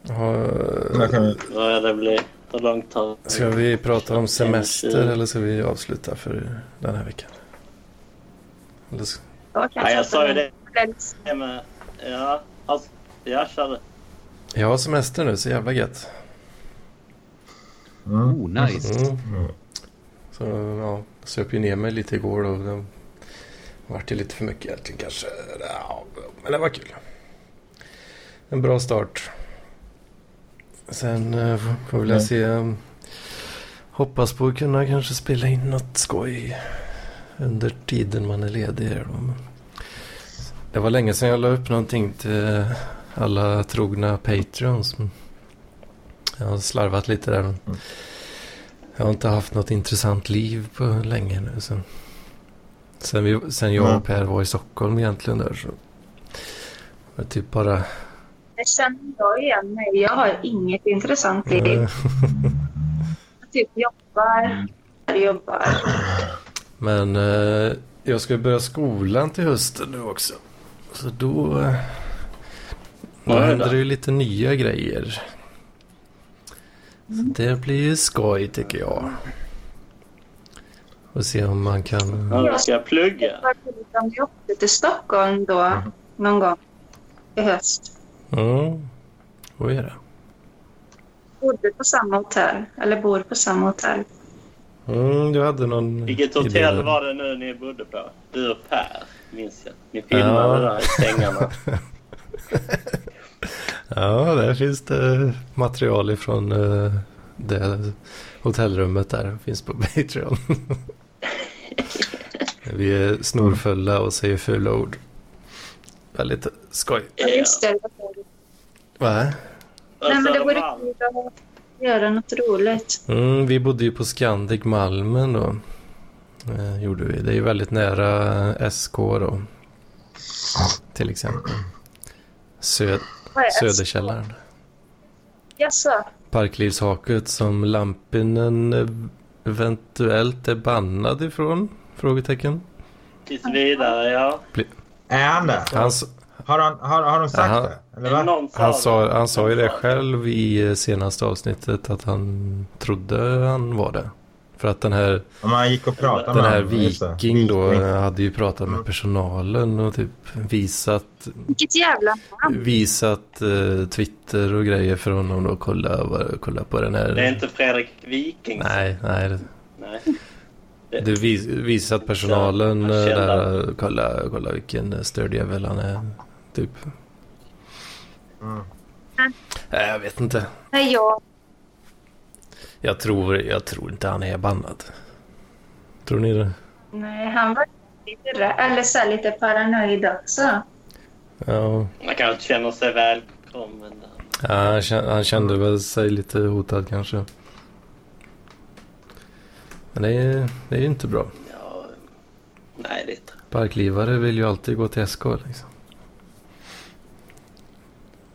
S1: Ha,
S2: Där kan vi-
S5: Ja, det blir så långt tag.
S1: ska vi prata om semester eller ska vi avsluta för den här veckan? Eller ska,
S4: Jag,
S5: Ja, jag sa ju det.
S4: det.
S5: Ja, men, ja, alltså, jag körde.
S1: jag har semester nu, så jävla gött.
S2: Mm.
S6: Oh, nice.
S1: Mm. Så ja, söp ju ner mig lite igår och det vart ju lite för mycket egentligen kanske. Ja, men det var kul. En bra start. Sen eh, får- får vi väl
S2: Mm.
S1: se. eh, Hoppas på att kunna kanske spela in något skoj under tiden man är ledig. här då. Men Det var länge sedan jag la upp någonting till alla trogna Patreons. men Jag har slarvat lite där. men Jag har inte haft något intressant liv på länge nu. Sen, sen, vi, sen jag
S2: Mm.
S1: och Per var i Stockholm egentligen där så. var det Typ bara...
S4: Det känner jag igen mig Jag har inget intressant i det.
S1: eh,
S4: Jag typ
S5: Mm.
S4: jobbar, jobbar.
S1: Men eh, jag ska börja skolan till hösten nu också. Så då, eh, då
S5: Vad är det
S1: händer
S5: då?
S1: det ju lite nya grejer. Så
S5: Mm.
S1: det blir ju skoj tycker jag. Och se om man kan...
S5: Ja, då ska jag plugga.
S4: Varför liksom vi åkte till Stockholm då någon gång i höst.
S1: Mm. Vad är det?
S4: Bodde på samma hotell, eller bor på samma hotell.
S1: Mm, du hade någon
S5: Vilket
S1: idé
S5: hotell
S1: där.
S5: var det nu ni bodde på? Du och Per, minns jag. Ni filmade
S1: Ja.
S5: där i sängarna.
S1: Ja, där finns det material ifrån eh, det hotellrummet där. Finns på Patreon. Vi är snorfulla och säger fula ord. Väldigt skoj.
S4: Jag
S5: Ja.
S4: visste det.
S1: Va?
S5: Och
S4: Nej, men det vore
S5: Södermalm.
S4: kul att göra något roligt.
S1: Mm, vi bodde ju på Scandic Malmen då. Eh, gjorde vi. Det är ju väldigt nära SK då. Till exempel. Sö-
S4: Vad är
S1: Söderkällaren.
S4: Jaså?
S1: Parklivshaket som Lampinen eventuellt är bannad ifrån? Frågetecken.
S5: Tills vidare, ja.
S2: Är han det?
S1: Han, s-
S2: Har, han, har, har de sagt
S1: Aha.
S2: det? Eller va?
S5: Någon sa
S1: han,
S5: det.
S1: sa, han sa ju
S5: Någon
S1: det själv i eh, senaste avsnittet att han trodde han var det. För att den här,
S2: Om man gick och pratade
S1: den
S2: med
S1: här
S2: honom, just det.
S1: Viking då eh, hade ju pratat med personalen och typ visat,
S4: Vilket jävla namn.
S1: visat eh, Twitter och grejer för honom då. Kolla, vad- kolla på den här.
S5: Det är inte Fredrik Wiking.
S1: Nej, nej. det-
S5: Nej.
S1: Du vis, visat personalen eh,
S5: Ja, jag känner.
S1: där, kolla, kolla vilken eh, stödjävel han är. Typ.
S2: Mm.
S1: Nej, jag vet inte.
S4: Nej, jag.
S1: Jag tror, jag tror inte han är bannad. Tror ni det?
S4: Nej, han var lite rädd. Eller så här lite paranoid också.
S1: Ja,
S5: Man kanske inte känner sig välkommen där.
S1: ja han, kände, han kände väl sig lite hotad kanske. Men det är, det är ju inte bra.
S5: Ja, nej, det är inte.
S1: Parklivare vill ju alltid gå till SK liksom.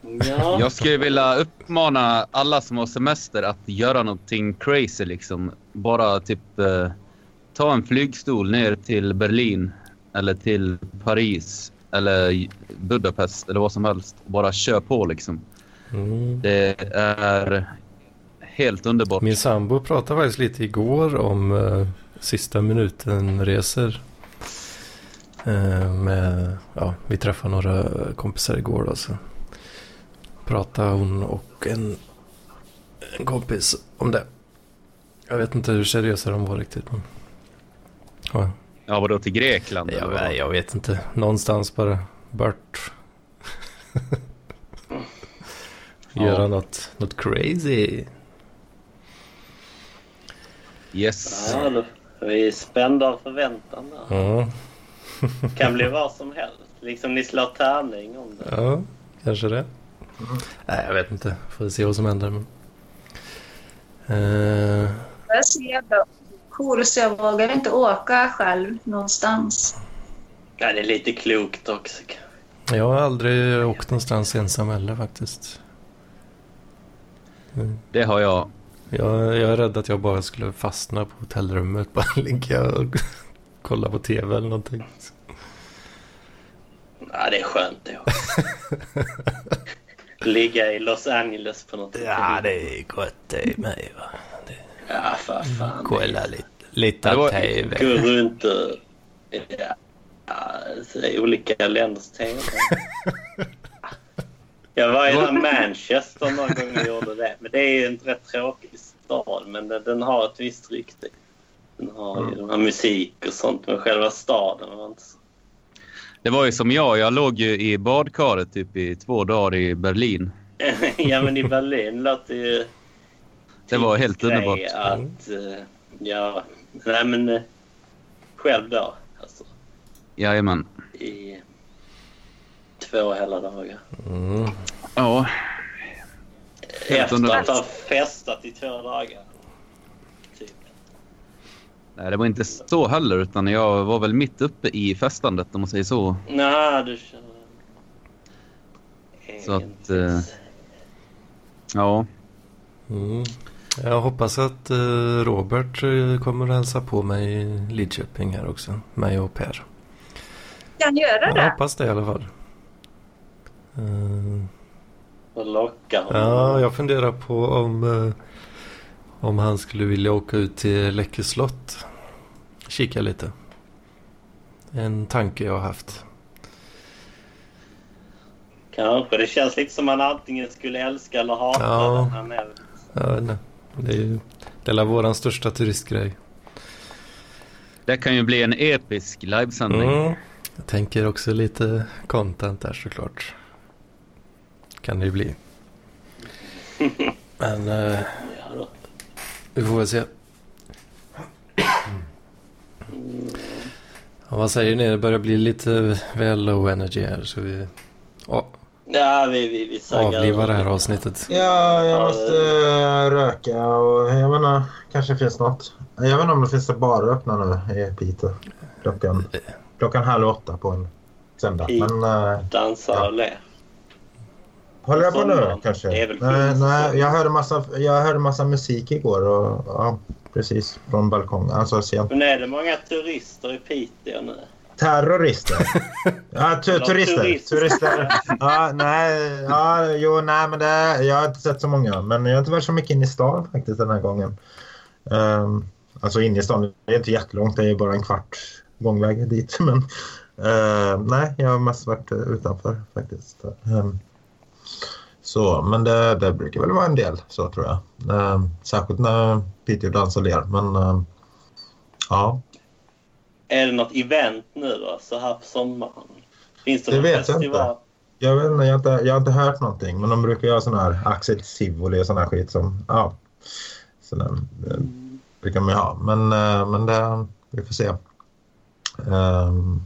S5: Ja.
S6: Jag skulle vilja uppmana alla som har semester att göra någonting crazy. Liksom. Bara typ eh, ta en flygstol ner till Berlin eller till Paris eller Budapest eller vad som helst. Bara kör på liksom.
S1: Mm.
S6: Det är helt underbart.
S1: Min sambo pratade faktiskt lite igår om eh, sista minuten-resor. Eh, med, ja, vi träffade några kompisar igår. Då, så. pratade hon och en, en kompis om det. Jag vet inte hur seriösa de var riktigt. Men... Ja,
S6: Ja, vadå till Grekland?
S1: jag,
S6: eller vad?
S1: nej, jag vet inte. Någonstans bara. Bert. Göra
S6: Ja.
S1: något, något crazy.
S6: Yes.
S5: Ja, då- vi är spända av förväntan där.
S1: Ja,
S5: kan bli vad som helst. Liksom ni slår tärning om det.
S1: ja kanske det. Nej, jag vet inte. Får vi se vad som händer. Men... Eh,
S4: Jag ser bra cool, så jag vågar inte åka själv någonstans.
S5: Ja, det är lite klokt också.
S1: jag har aldrig åkt någonstans ensam heller faktiskt.
S6: Det har jag.
S1: Jag, jag är rädd att jag bara skulle fastna på hotellrummet. Bara ligga och kolla på tv eller någonting.
S5: Ja, det är skönt det också. Ligga i Los Angeles på något hotell.
S1: det är gott i mig va.
S5: Ja, för fan.
S1: Kolla lite, lite
S6: Det var-
S5: Gå runt och... Ja, alltså, i olika länders tv. Jag var i den här Manchester någon gång och gjorde det. Men det är ju en rätt tråkig stad. Men den, den har ett visst rykte. Den har ju den här musik och sånt. Men själva staden var inte så...
S6: Det var ju som jag. Jag låg ju i badkaret typ i två dagar i Berlin.
S5: ja, men i Berlin lät det ju...
S6: Det var helt
S5: grej
S6: underbart.
S5: Att, eh, ja, nej men eh, själv då. Alltså,
S6: Jajamän.
S5: I två hela dagar.
S1: Mm.
S6: Ja.
S5: Efter
S6: underbart.
S5: att ha festat i två dagar. Typ.
S6: Nej, det var inte så heller, utan jag var väl mitt uppe i festandet om man säger så.
S5: Nej, du känner...
S6: Så att, eh, Ja,
S1: Mm. Jag hoppas att eh, Robert eh, kommer att hälsa på mig i Lidköping här också. Mig och Per.
S4: Kan göra
S1: Jag
S4: det?
S1: hoppas det i alla fall. Eh,
S5: Och lockar honom.
S1: ja, jag funderar på om, eh, om han skulle vilja åka ut till Läckö slott. Kika lite. En tanke jag har haft.
S5: Kanske. Det känns lite som han antingen skulle älska eller hata
S1: Ja.
S5: den han är.
S1: Ja, nej. Det är ju det är väl våran största turistgrej.
S6: det kan ju bli en episk livesändning.
S1: Mm. Jag tänker också lite content där såklart. Kan det ju bli. Men eh,
S5: Ja, då.
S1: vi får väl se. Ja, vad säger ni? Det börjar bli lite väl low energy här så vi oh,
S5: ja vi, vi, vi saggar
S1: avlivar det här
S5: över.
S1: avsnittet.
S2: Ja, jag måste eh, röka och jag vet inte, kanske finns något. Jag vet inte om det finns ett bar öppna nu i Piteå. Klockan, klockan halv åtta på en söndag. Men eh,
S5: Dansar och ler.
S2: håller jag på nu
S5: Sommaren
S2: kanske?
S5: är väl
S2: Nej,
S5: fin,
S2: nej,
S5: så.
S2: jag, hörde massa, jag hörde massa musik igår och ja, precis från balkongen. Alltså sent.
S5: Men är det många turister i Piteå nu?
S2: Terrorister. Ja, tu-
S5: Eller
S2: turister.
S5: turist.
S2: turister. Ja, nej, ja, jo, nej, men det, jag har inte sett så många. Men jag har inte varit så mycket inne i stan faktiskt den här gången. Ehm, alltså inne i stan, det är inte jättelångt. Det är bara en kvart gångväg dit. Men ehm, nej, jag har mest varit eh, utanför faktiskt. Ehm, så, men det, det brukar väl vara en del så tror jag. Ehm, särskilt när Piteå dansar ler. Men ehm, ja,
S5: Är det något event nu då, så här på sommaren? Finns det,
S2: Det
S5: någon
S2: vet jag
S5: festival?
S2: inte. Jag vet inte, jag har inte, jag har inte hört någonting. Men de brukar göra sån här Axel Tivoli och sån här skit som, ja. Sån där, eh, brukar man ju ha. Men, eh, men det, vi får se. Ehm,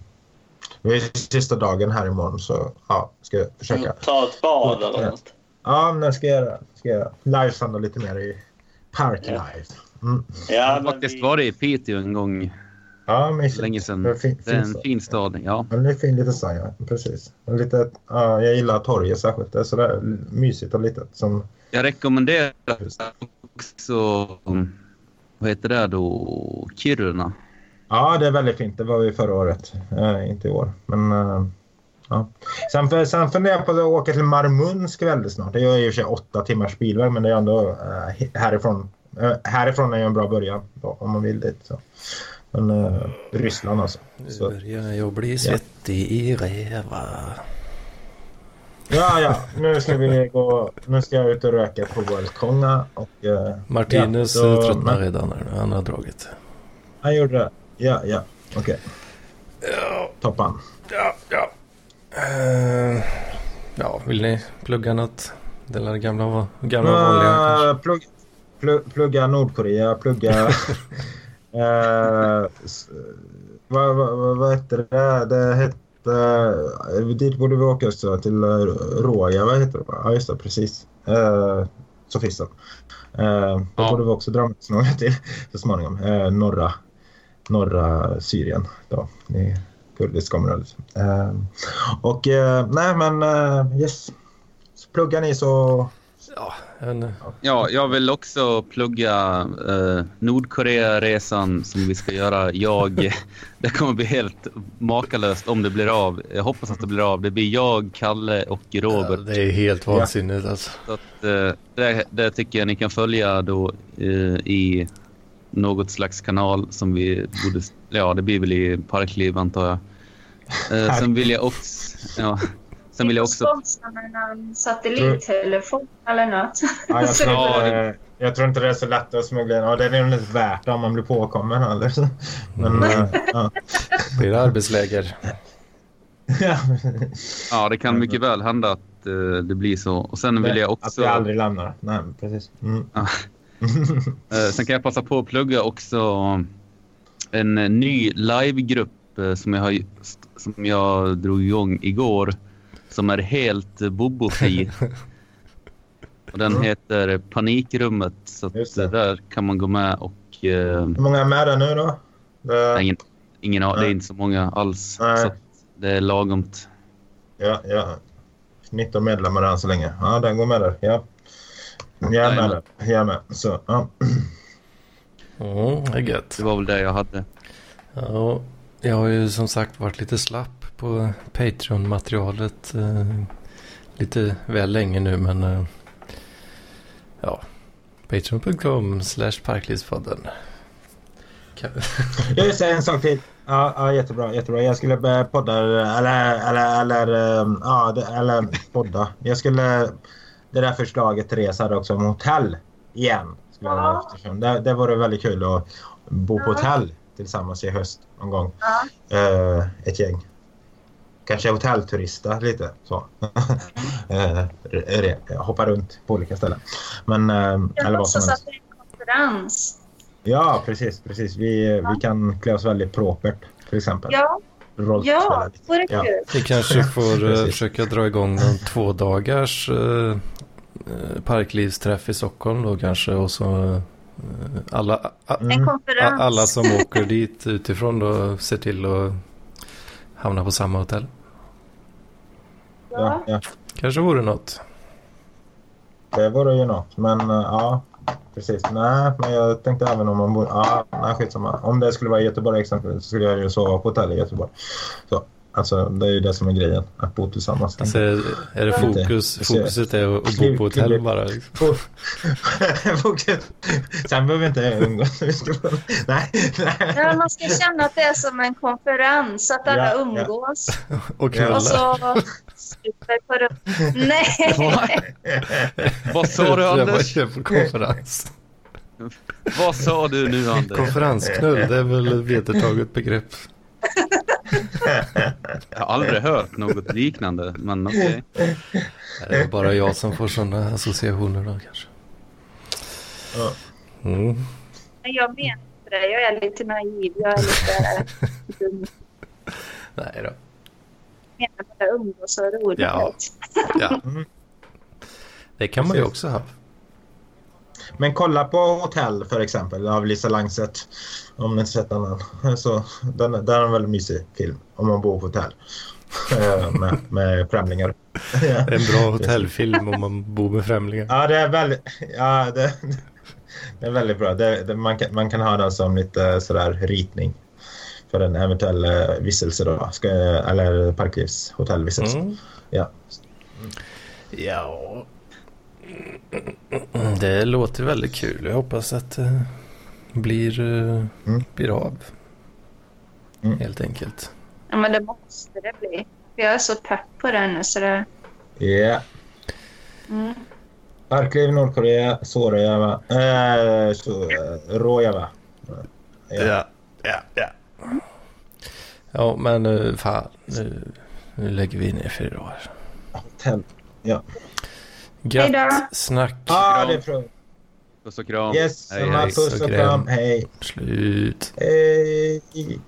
S2: det är sista dagen här imorgon så ja, ska jag
S6: Mm.
S2: försöka.
S5: Ta ett bad eller
S2: Ja.
S5: något.
S2: Ja, men det ska jag göra. Ska jag göra. Livesända lite mer i Park Live. Mm.
S5: Ja,
S6: Jag har
S5: men
S6: faktiskt
S5: vi-
S6: varit i Piteå en gång
S2: Ja, mysigt.
S6: länge sedan.
S2: Det är fin-
S6: Det är en
S2: fin
S6: fin stad. Ja.
S2: Ja, det är en fin liten stad, ja. Precis. En lite, ja, jag gillar torget särskilt. Det är sådär mysigt och litet. Som,
S6: Jag rekommenderar också... Vad heter det då? Kiruna.
S2: Ja, det är väldigt fint. Det var vi förra året. Eh, inte i år. Men, eh, ja. sen, för, sen funderar jag på att åka till Marmunsk väldigt snart. Det är ju i och för sig åtta timmars bilväg, men det är ändå eh, härifrån. Eh, härifrån är ju en bra början då, om man vill dit. Så. Men eh,
S1: Mm.
S2: Ryssland alltså.
S1: Nu
S2: Så,
S1: börjar jag bli svettig i räva.
S2: Ja, ja. Nu ska vi gå. Nu ska jag ut och röka på Konga och... eh,
S1: Martinus
S2: ja, så-
S1: eh, tröttnar redan här nu. Han har dragit.
S2: Han gjorde det. Ja, ja. Okej. Toppan.
S1: Ja, ja. Eh, ja, vill ni plugga något? Det lär gamla, va- gamla vanliga kanske.
S2: Uh, plugg, plugg, plugga Nordkorea, plugga... Eh, s- vad, vad, vad, vad hette det? Det hette... Dit borde vi åka också, till eh, Råja. Vad heter det? Ja, just det. Precis. Uh, Sofisten. Uh, det
S6: Ja.
S2: borde vi också dra med oss några till så småningom. Eh, norra, norra Syrien. Då. I kurdiska området. Eh, och eh, nej, men eh, yes. Så pluggar ni så
S1: Ja, en,
S6: Ja, jag vill också plugga eh, Nordkorea-resan som vi ska göra. Jag, det kommer bli helt makalöst om det blir av. Jag hoppas att det blir av. Det blir jag, Kalle och
S1: ja,
S6: Robert.
S1: det är helt vansinnigt alltså.
S6: Så att, eh, det, det tycker jag ni kan följa då eh, i något slags kanal som vi borde... Ja, det blir väl i Parkliv antar jag. Eh, sen vill jag också... Ja, sen vill jag också...
S4: Sponsra med en satellittelefon eller något.
S2: Ja, jag,
S4: Så
S2: tror,
S4: det
S6: Ja,
S2: inte- jag tror inte det är så lätt att smuggla in. Ja, det är nog inte värt det om man blir påkommen heller. så. Men, eh, ja.
S1: Blir det arbetsläger?
S2: Ja,
S6: Ja, det kan mycket väl hända att eh, det blir så. Och sen vill jag
S2: Att
S6: också...
S2: vi aldrig lämnar. Nej, men precis. Mm.
S6: Ja. Eh, Sen kan jag passa på att plugga också en eh, ny livegrupp eh, som jag, har, som jag drog igång igår som är helt eh, bobofri. Och den heter Panikrummet så att
S2: Just
S6: det.
S2: det.
S6: där kan man gå med och eh,
S2: Hur många är med där nu då? Det-
S6: ingen, ingen, har- det är
S2: Nej.
S6: inte så många alls.
S2: Nej.
S6: Så att det är lagomt.
S2: Ja, ja. 19 medlemmar än så länge. Ja, den går med där. Ja. Jag är med där. Jag är med. Så, ja.
S1: Mm, det är gött.
S6: Det var väl det jag hade.
S1: Ja, jag har ju som sagt varit lite slapp på Patreon-materialet eh, lite väl länge nu men eh, ja, patreon.com slash parklivspodden. Kan-
S2: Jag vill säga en sak till. Ja, ja, jättebra, jättebra. Jag skulle eh, podda, eller, eller, eller, eh, ja, det- eller podda. Jag skulle, det där förslaget Therese hade också om hotell igen. Skulle jag
S4: Ja.
S2: eftersom det, det vore väldigt kul att bo på
S4: Ja.
S2: hotell tillsammans i höst någon gång.
S4: Ja.
S2: Eh, ett gäng. Kanske hotellturista lite så. Eh, re- hoppa runt på olika ställen. Men, eh,
S4: Jag
S2: eller vad som
S4: låtsas
S2: helst.
S4: att det är en konferens.
S2: Ja, precis. precis. Vi, vi kan klä oss väldigt propert, till exempel.
S4: Ja,
S2: Rollspela
S4: ja,
S2: lite.
S4: vore
S2: Ja.
S4: kul.
S1: Vi kanske får eh,
S2: Precis.
S1: försöka dra igång någon två dagars eh, eh, parklivsträff i Stockholm då kanske och så eh, alla, a,
S4: En
S2: Mm.
S1: a,
S4: konferens.
S1: alla som åker dit utifrån då ser till att hamna på samma hotell.
S2: Ja,
S4: Ja.
S2: ja.
S1: Kanske vore något.
S2: Det vore ju något. Men eh, ja, precis. Nej, men jag tänkte även om man bor... Ja, nej, skitsamma. Om det skulle vara i Göteborg exempelvis så skulle jag ju sova på hotell i Göteborg. Så, alltså, det är ju det som är grejen, att bo tillsammans.
S1: Alltså är, är det fokus,
S2: Lite.
S1: fokuset är att, att bo på hotell bara? Liksom.
S2: Sen behöver vi inte umgås. Vi ska bara- Nej,
S4: Ja,
S2: nej.
S4: man ska känna att det är som en konferens, att alla
S2: Ja, ja.
S4: umgås.
S1: Och
S2: Ja.
S1: knulla?
S4: Och
S6: Alltså,
S4: så super på rum. Nej,
S6: Vad sa du
S1: Jag bara
S6: Anders?
S1: kör på konferens.
S6: Vad sa du nu Anders?
S1: Konferensknull, det är väl ett vedertaget begrepp.
S6: Jag har aldrig hört något liknande men okej.
S1: Det är bara jag som får sådana associationer då kanske.
S2: Ja.
S1: Mm.
S4: men jag menar inte det. Jag är lite naiv. Jag är lite dum.
S1: Nej då.
S4: Jag menar bara umgås och roligt.
S1: Ja. Ja.
S6: Mm.
S1: Det kan man ju också ha.
S2: Men kolla på Hotell för exempel av Lisa Langset. Om ni inte sett den än. Så, den, den är en väldigt mysig film om man bor på hotell. Eh, med, med främlingar. ja.
S1: En bra hotellfilm om man bor med främlingar.
S2: ja, det är väldigt, ja, det, det är väldigt bra. Det, det, man, kan, man kan ha den som lite sådär ritning för en eventuell eh, vistelse då. Ska, eller Parklivs hotellvistelse.
S1: Mm.
S2: Ja.
S1: Ja. Mm, Det låter väldigt kul. Jag hoppas att det blir, eh,
S2: Mm.
S1: blir av.
S2: Mm.
S1: Helt enkelt.
S4: Ja, men det måste det bli. För Jag är så pepp på det nu så det...
S2: Ja.
S4: Mm.
S2: Arkliv, Nordkorea, Såröjäva. Eh, så, eh, Råjäva. Ja.
S1: Ja, ja, ja. Ja, men nu fan. Nu, nu lägger vi ner för idag.
S2: Hotell. Ja.
S4: Hej då.
S1: Gött snack.
S2: Ah, det är prov.
S6: Puss och kram.
S2: Yes,
S6: Hej,
S1: hej,
S2: puss och
S1: så
S2: kram.
S1: gräm.
S2: Hej.
S1: Slut.
S2: Hej.